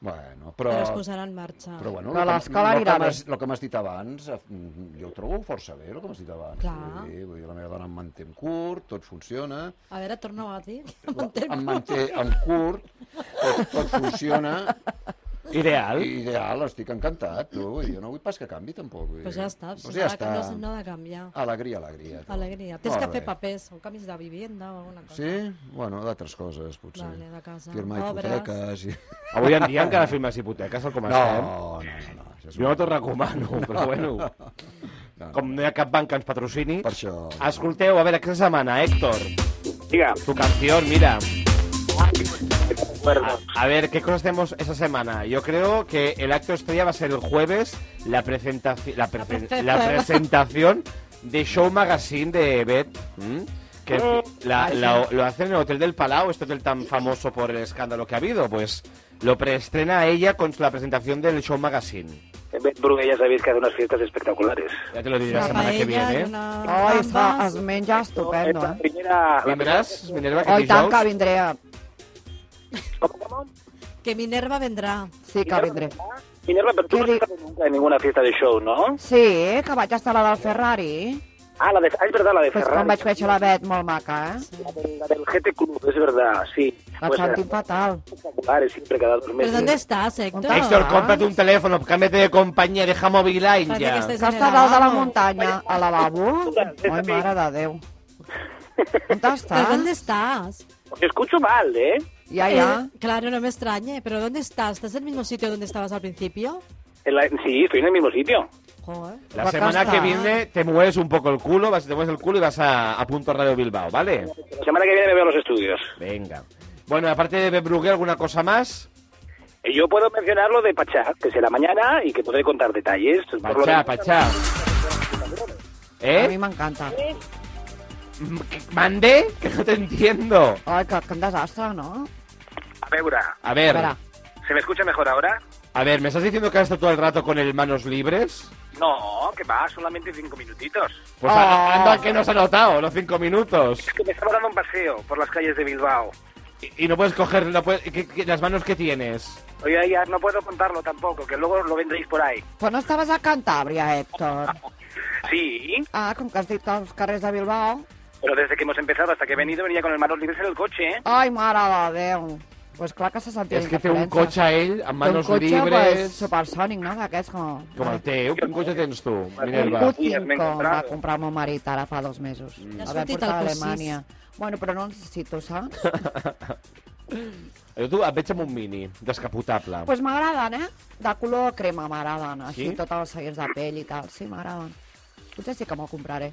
Speaker 6: Bueno,
Speaker 4: Però...
Speaker 6: però...
Speaker 4: es posarà en marxa.
Speaker 6: Però bueno,
Speaker 3: Però
Speaker 6: lo que-
Speaker 3: l'escola
Speaker 6: lo
Speaker 3: anirà
Speaker 6: que m'has- Lo que m'has dit abans, eh, mm, jo ho trobo força bé, el que m'has dit abans.
Speaker 4: Clar.
Speaker 6: Vull dir, vull dir, la meva dona em manté en curt, tot funciona.
Speaker 4: A veure, torna-ho a dir.
Speaker 6: Em manté en curt,
Speaker 7: tot, tot funciona
Speaker 2: Ideal.
Speaker 7: ideal, estic encantat, tu. Vull dir, Jo no vull pas que canvi, tampoc. Vull dir.
Speaker 4: Pues ja està,
Speaker 7: Doncs ja
Speaker 4: no,
Speaker 7: està.
Speaker 4: No, no ha de canviar.
Speaker 6: Ah,
Speaker 7: Alegria, alegria. tu.
Speaker 4: Alegria. Tens
Speaker 7: Molt
Speaker 4: que fer
Speaker 7: bé.
Speaker 4: papers o canvis de vivienda o alguna cosa.
Speaker 7: Sí? Bueno, d'altres coses, potser.
Speaker 4: Vale, de casa.
Speaker 7: Firmar
Speaker 4: Obres.
Speaker 7: hipoteques... I...
Speaker 2: Avui en dia encara firmes hipoteques, tal com
Speaker 7: No,
Speaker 2: estem.
Speaker 7: no, no. no, això és
Speaker 2: Jo no t'ho recomano, però bueno. Com no hi ha cap banc que ens patrocini...
Speaker 7: Per això...
Speaker 2: Escolteu, a veure, què se demana, Héctor?
Speaker 5: Diga,
Speaker 2: Tu canció, mira.
Speaker 5: perdón.
Speaker 2: A, a ver, ¿qué cosas tenemos esa semana? Yo creo que el acto estrella va a ser el jueves, la, presentaci- la, pre-
Speaker 4: presentación.
Speaker 2: la presentación de Show Magazine de Beth. ¿m? Que la- la- lo hacen en el Hotel del Palau, este hotel tan famoso por el escándalo que ha habido. Pues lo preestrena ella con la presentación del Show Magazine.
Speaker 5: Beth Brun, Eh, ya sabéis que hace unas fiestas espectaculares.
Speaker 2: Ya te lo diré la
Speaker 4: Una
Speaker 2: semana que
Speaker 4: paella
Speaker 2: viene.
Speaker 4: i
Speaker 2: ¿eh?
Speaker 4: una...
Speaker 5: Ah,
Speaker 3: Ai, es, fa,
Speaker 4: gambes.
Speaker 3: es menja
Speaker 5: Es
Speaker 3: estupendo,
Speaker 5: la
Speaker 3: eh?
Speaker 5: primera... la
Speaker 2: Vindràs, Minerva,
Speaker 3: Oh,
Speaker 2: aquest
Speaker 3: i tant que
Speaker 2: dijous?
Speaker 3: vindré.
Speaker 5: ¿Cómo, cómo?
Speaker 4: Que Minerva vendrá.
Speaker 3: Sí que vindré.
Speaker 5: Minerva, pero tú
Speaker 3: ¿Qué
Speaker 5: no
Speaker 3: di-
Speaker 5: estás nunca en ninguna fiesta de show, ¿no?
Speaker 3: Sí, que vaig estar a la del Ferrari.
Speaker 5: Ah, la de... Ah, es verdad, la de
Speaker 3: Pues
Speaker 5: Ferrari.
Speaker 3: quan vaig veure la Bet, molt maca, eh?
Speaker 5: La del, la del GT Club, es verdad, sí.
Speaker 3: La
Speaker 5: Pues, eh,
Speaker 3: sentim fatal.
Speaker 5: espectaculares siempre cada dos
Speaker 4: ¿Pero
Speaker 5: meses.
Speaker 4: dónde estás, Héctor?
Speaker 3: ¿Dónde
Speaker 2: Héctor,
Speaker 3: Ah.
Speaker 2: cómprate un teléfono, cámbiate de compañía, deja Moviline
Speaker 4: Parece que
Speaker 2: ya.
Speaker 4: estés
Speaker 3: Que
Speaker 4: en
Speaker 3: està
Speaker 4: el
Speaker 3: dalt de la
Speaker 4: Alamo.
Speaker 3: muntanya, al
Speaker 5: [laughs]
Speaker 3: lavabo? Ai, mare de Déu. On
Speaker 4: ¿Pero dónde
Speaker 3: estàs?
Speaker 4: estás?
Speaker 5: Os escucho mal, ¿eh?
Speaker 3: Ja, ja.
Speaker 4: Eh, claro, no me extrañe, pero ¿dónde estás? ¿Estás en el mismo sitio donde estabas al principio?
Speaker 5: En la- Sí, estoy en el mismo sitio.
Speaker 4: Joder.
Speaker 2: La
Speaker 3: Pues
Speaker 2: semana
Speaker 3: acá
Speaker 2: que
Speaker 3: está.
Speaker 2: viene te mueves un poco el culo, vas, te mueves el culo y vas a, a Punto Radio Bilbao, ¿vale?
Speaker 5: La semana que viene me veo a los estudios.
Speaker 2: Venga. Bueno, aparte de Bebrugué, ¿alguna cosa más?
Speaker 5: Eh, Yo puedo mencionar lo de Pachá, que será mañana y que podré contar detalles. Por lo
Speaker 2: Pachá,
Speaker 5: demás,
Speaker 2: Pachá.
Speaker 3: A mi
Speaker 2: ¿Eh?
Speaker 3: m'encanta.
Speaker 2: ¿Mandé? Que no te entiendo.
Speaker 3: Ai, que, que un desastre, no?
Speaker 5: A ver,
Speaker 2: A
Speaker 3: A
Speaker 2: ver,
Speaker 3: veure,
Speaker 5: ¿se me escucha mejor ahora?
Speaker 2: a ver, ¿me estás diciendo que has estado todo el rato con el manos libres?
Speaker 5: No, que va, solamente cinco minutitos.
Speaker 2: Pues
Speaker 4: Ah.
Speaker 2: a- anda que no se ha notado, los cinco minutos.
Speaker 5: Es que me estaba dando un paseo por las calles de Bilbao.
Speaker 2: Y, y no puedes coger no puedes- ¿qué- qué- las manos que tienes.
Speaker 5: Oye, ya no puedo contarlo tampoco, que luego lo vendréis por ahí.
Speaker 3: però no estaves a Cantàbria, Héctor.
Speaker 5: Sí,
Speaker 3: Ah, com que has dit els carrers de Bilbao.
Speaker 5: pero desde que hemos empezado hasta que he venido venía con el manos libres en el coche, ¿eh?
Speaker 3: Ai, mare de Déu. Pues clar que se sentia
Speaker 2: es que tengo un coche a él, a manos
Speaker 3: té un cotxe, Pues,
Speaker 2: libres.
Speaker 3: supersònic, no? D'aquests com...
Speaker 2: Como el teu, quin cotxe tens tu,
Speaker 3: Un
Speaker 2: Minerva?
Speaker 5: Elba.
Speaker 3: Putin
Speaker 5: M'he
Speaker 3: com
Speaker 5: comprat.
Speaker 3: va comprar el meu marit ara fa dos mesos.
Speaker 2: Mm.
Speaker 4: Ja ha
Speaker 3: El va
Speaker 4: sortit
Speaker 3: portar a
Speaker 4: el cossís.
Speaker 3: Alemanya. Bueno, però no el necessito, saps? Doncs
Speaker 2: Jo tu et veig amb un mini, descapotable.
Speaker 3: pues m'agraden, eh? De color crema m'agraden, així,
Speaker 2: Sí?
Speaker 3: sí? tots els seients de pell i tal. Sí, m'agraden. Potser sí que me'l compraré.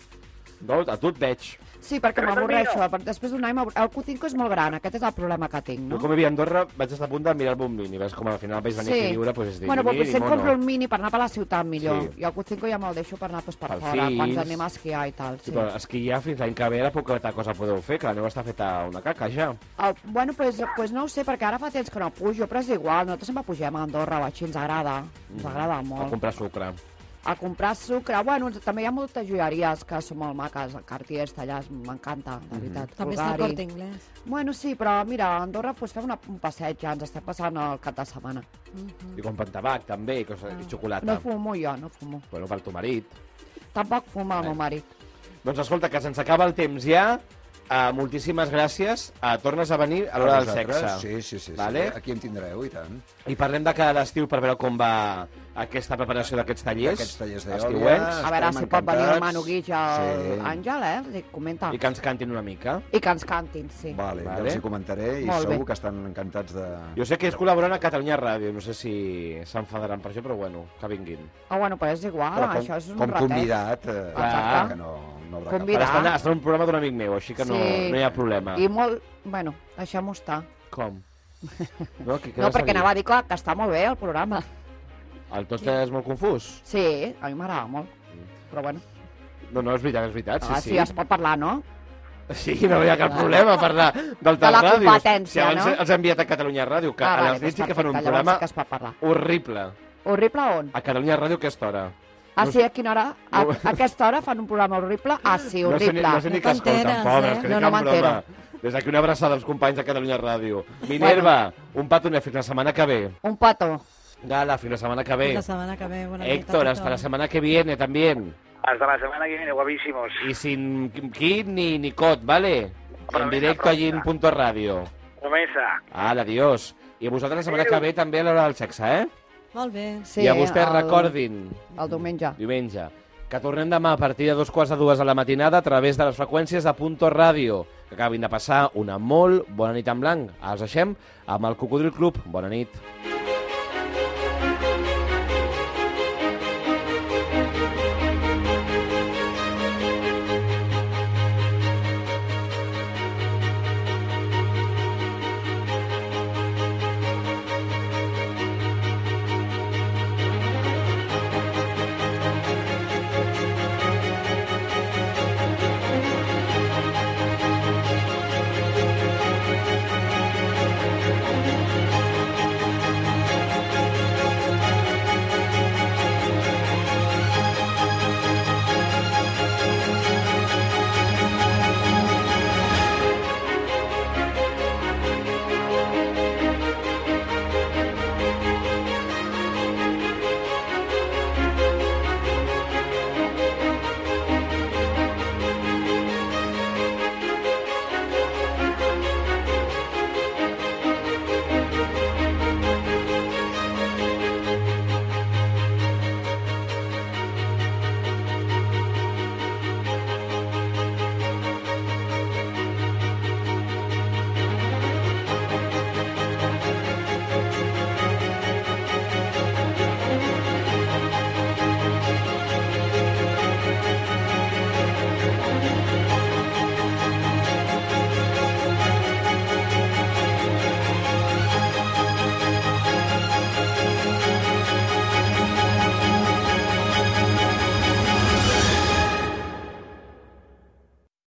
Speaker 2: No, a tu et veig.
Speaker 3: Sí, perquè m'avorreixo. per- Després d'un any m'avorreixo. El Cutinco és molt gran, aquest és el problema que tinc,
Speaker 2: Jo
Speaker 3: no?
Speaker 2: com vivia a Andorra vaig estar a punt de mirar-me un mini, ves com al final vaig venir sí. aquí a viure, doncs és dir,
Speaker 3: bueno, però
Speaker 2: mini,
Speaker 3: potser em
Speaker 2: mono.
Speaker 3: compro un mini per anar per la ciutat millor.
Speaker 2: Sí.
Speaker 3: Sí. I el Cutinco ja me'l deixo per anar pues, per
Speaker 2: Pels
Speaker 3: fora, quan
Speaker 2: fills.
Speaker 3: anem a esquiar i tal.
Speaker 2: Sí, però és que ja fins l'any que ve la poca cosa podeu fer, que la neu està feta una caca ja.
Speaker 3: El, Ah, bueno, pues, pues no ho sé, perquè ara fa temps que no pujo, però és igual, nosaltres sempre pugem a Andorra o així, ens agrada, ens agrada
Speaker 2: Mm. A
Speaker 3: molt.
Speaker 2: comprar sucre.
Speaker 3: A comprar sucre, bueno, ens- també hi ha moltes joieries que són molt maques, el Cartier, Tallars, m'encanta,
Speaker 2: Mhm.
Speaker 3: la veritat.
Speaker 4: També està al
Speaker 3: Bulgari.
Speaker 4: corte inglés.
Speaker 2: Eh,
Speaker 3: Bueno, sí, però mira, a Andorra pues, fem una, un passeig, ja ens estem passant el cap de setmana.
Speaker 2: I compren tabac, també, i, cosa, i xocolata.
Speaker 3: No fumo jo, no fumo.
Speaker 2: Bueno, per tu marit.
Speaker 3: Tampoc fuma el meu marit.
Speaker 2: Doncs escolta, que se'ns acaba el temps ja. Uh, moltíssimes gràcies. Uh, tornes a venir a l'hora del sexe.
Speaker 7: Sí, sí, sí, sí.
Speaker 2: Vale?
Speaker 7: Aquí em tindreu, i tant.
Speaker 2: I parlem de cada estiu per veure com va aquesta preparació d'aquests tallers.
Speaker 7: Aquests tallers d'eòlia.
Speaker 2: estiuencs,
Speaker 3: A veure
Speaker 7: estarem
Speaker 3: si pot venir el
Speaker 7: encantats.
Speaker 3: Manu Guix al
Speaker 7: Sí.
Speaker 3: sí. Àngel, eh? Li comenta.
Speaker 2: I
Speaker 3: I que,
Speaker 2: que ens cantin una mica.
Speaker 3: I que ens cantin, sí.
Speaker 7: Vale,
Speaker 2: Vale.
Speaker 7: vale. ja els hi comentaré i
Speaker 3: Molt bé.
Speaker 7: segur que estan encantats de...
Speaker 2: Jo sé que ells col·laboren a Catalunya Ràdio, no sé si s'enfadaran per això, però bueno, que vinguin.
Speaker 3: Ah, bueno, però és igual,
Speaker 7: Però com,
Speaker 3: això és un
Speaker 7: com
Speaker 3: ratet.
Speaker 7: convidat, eh,
Speaker 3: Exacte.
Speaker 7: que no, no haurà
Speaker 2: Però
Speaker 3: Convidat. Mira.
Speaker 2: estan, estan en un programa d'un amic meu, així que no,
Speaker 3: Sí.
Speaker 2: no hi ha problema.
Speaker 3: I molt... Bueno, deixem-ho estar. [laughs]
Speaker 2: Com? No, que,
Speaker 3: no, perquè anava a dir, clar, que està molt bé el programa.
Speaker 2: El Tosta és molt confús?
Speaker 3: Sí, a mi m'agrada molt. Però bueno,
Speaker 2: No, no, és veritat, és veritat,
Speaker 3: sí, ah, sí.
Speaker 2: Mm. sí,
Speaker 3: sí, es pot parlar, no?
Speaker 2: sí. Sí, no hi ha cap problema parlar del
Speaker 3: De la
Speaker 2: Ràdio.
Speaker 3: competència,
Speaker 2: si abans
Speaker 3: no? Ah, doncs
Speaker 2: els han enviat a Catalunya Ràdio, que a les nits sí que fan un
Speaker 3: perfecte,
Speaker 2: programa
Speaker 3: Llavors sí que es pot parlar.
Speaker 2: horrible.
Speaker 3: Horrible on?
Speaker 2: A Catalunya Ràdio, aquesta hora.
Speaker 3: Ah,
Speaker 2: no
Speaker 3: sí, a quina hora? A,
Speaker 2: no-
Speaker 3: a aquesta hora fan un programa horrible? Ah, sí,
Speaker 2: No sé,
Speaker 3: horrible.
Speaker 2: ni- no sé ni
Speaker 4: No
Speaker 2: què escolten,
Speaker 4: t'enteres,
Speaker 2: pobres,
Speaker 4: eh?
Speaker 2: que
Speaker 3: No,
Speaker 2: ni
Speaker 3: no
Speaker 2: cap
Speaker 3: m'entero.
Speaker 2: broma. Des d'aquí una abraçada als companys de Catalunya Ràdio. Minerva, un pato Netflix la setmana que ve.
Speaker 3: Un petó.
Speaker 2: Gala, fins la setmana que ve.
Speaker 4: La semana que ve. Buena
Speaker 2: Héctor, hasta la semana que viene también.
Speaker 5: Hasta la semana que viene, guapísimos.
Speaker 2: Y sin kit ni, ni cot, ¿vale?
Speaker 5: Para
Speaker 2: en
Speaker 5: mí la
Speaker 2: directo allí
Speaker 5: próxima.
Speaker 2: en Punto Radio.
Speaker 5: Promesa.
Speaker 2: Ara, adiós. I a vosaltres la setmana que ve també a l'hora del sexe, eh?
Speaker 4: Molt bé.
Speaker 3: Sí,
Speaker 2: I a vostès
Speaker 3: el-
Speaker 2: recordin,
Speaker 3: El diumenge.
Speaker 2: diumenge, que tornem demà a partir de dos quarts de dues a la matinada a través de les freqüències de Punto Ràdio. Que acabin de passar una molt bona nit en blanc. Els deixem amb el Cocodril Club. Bona nit.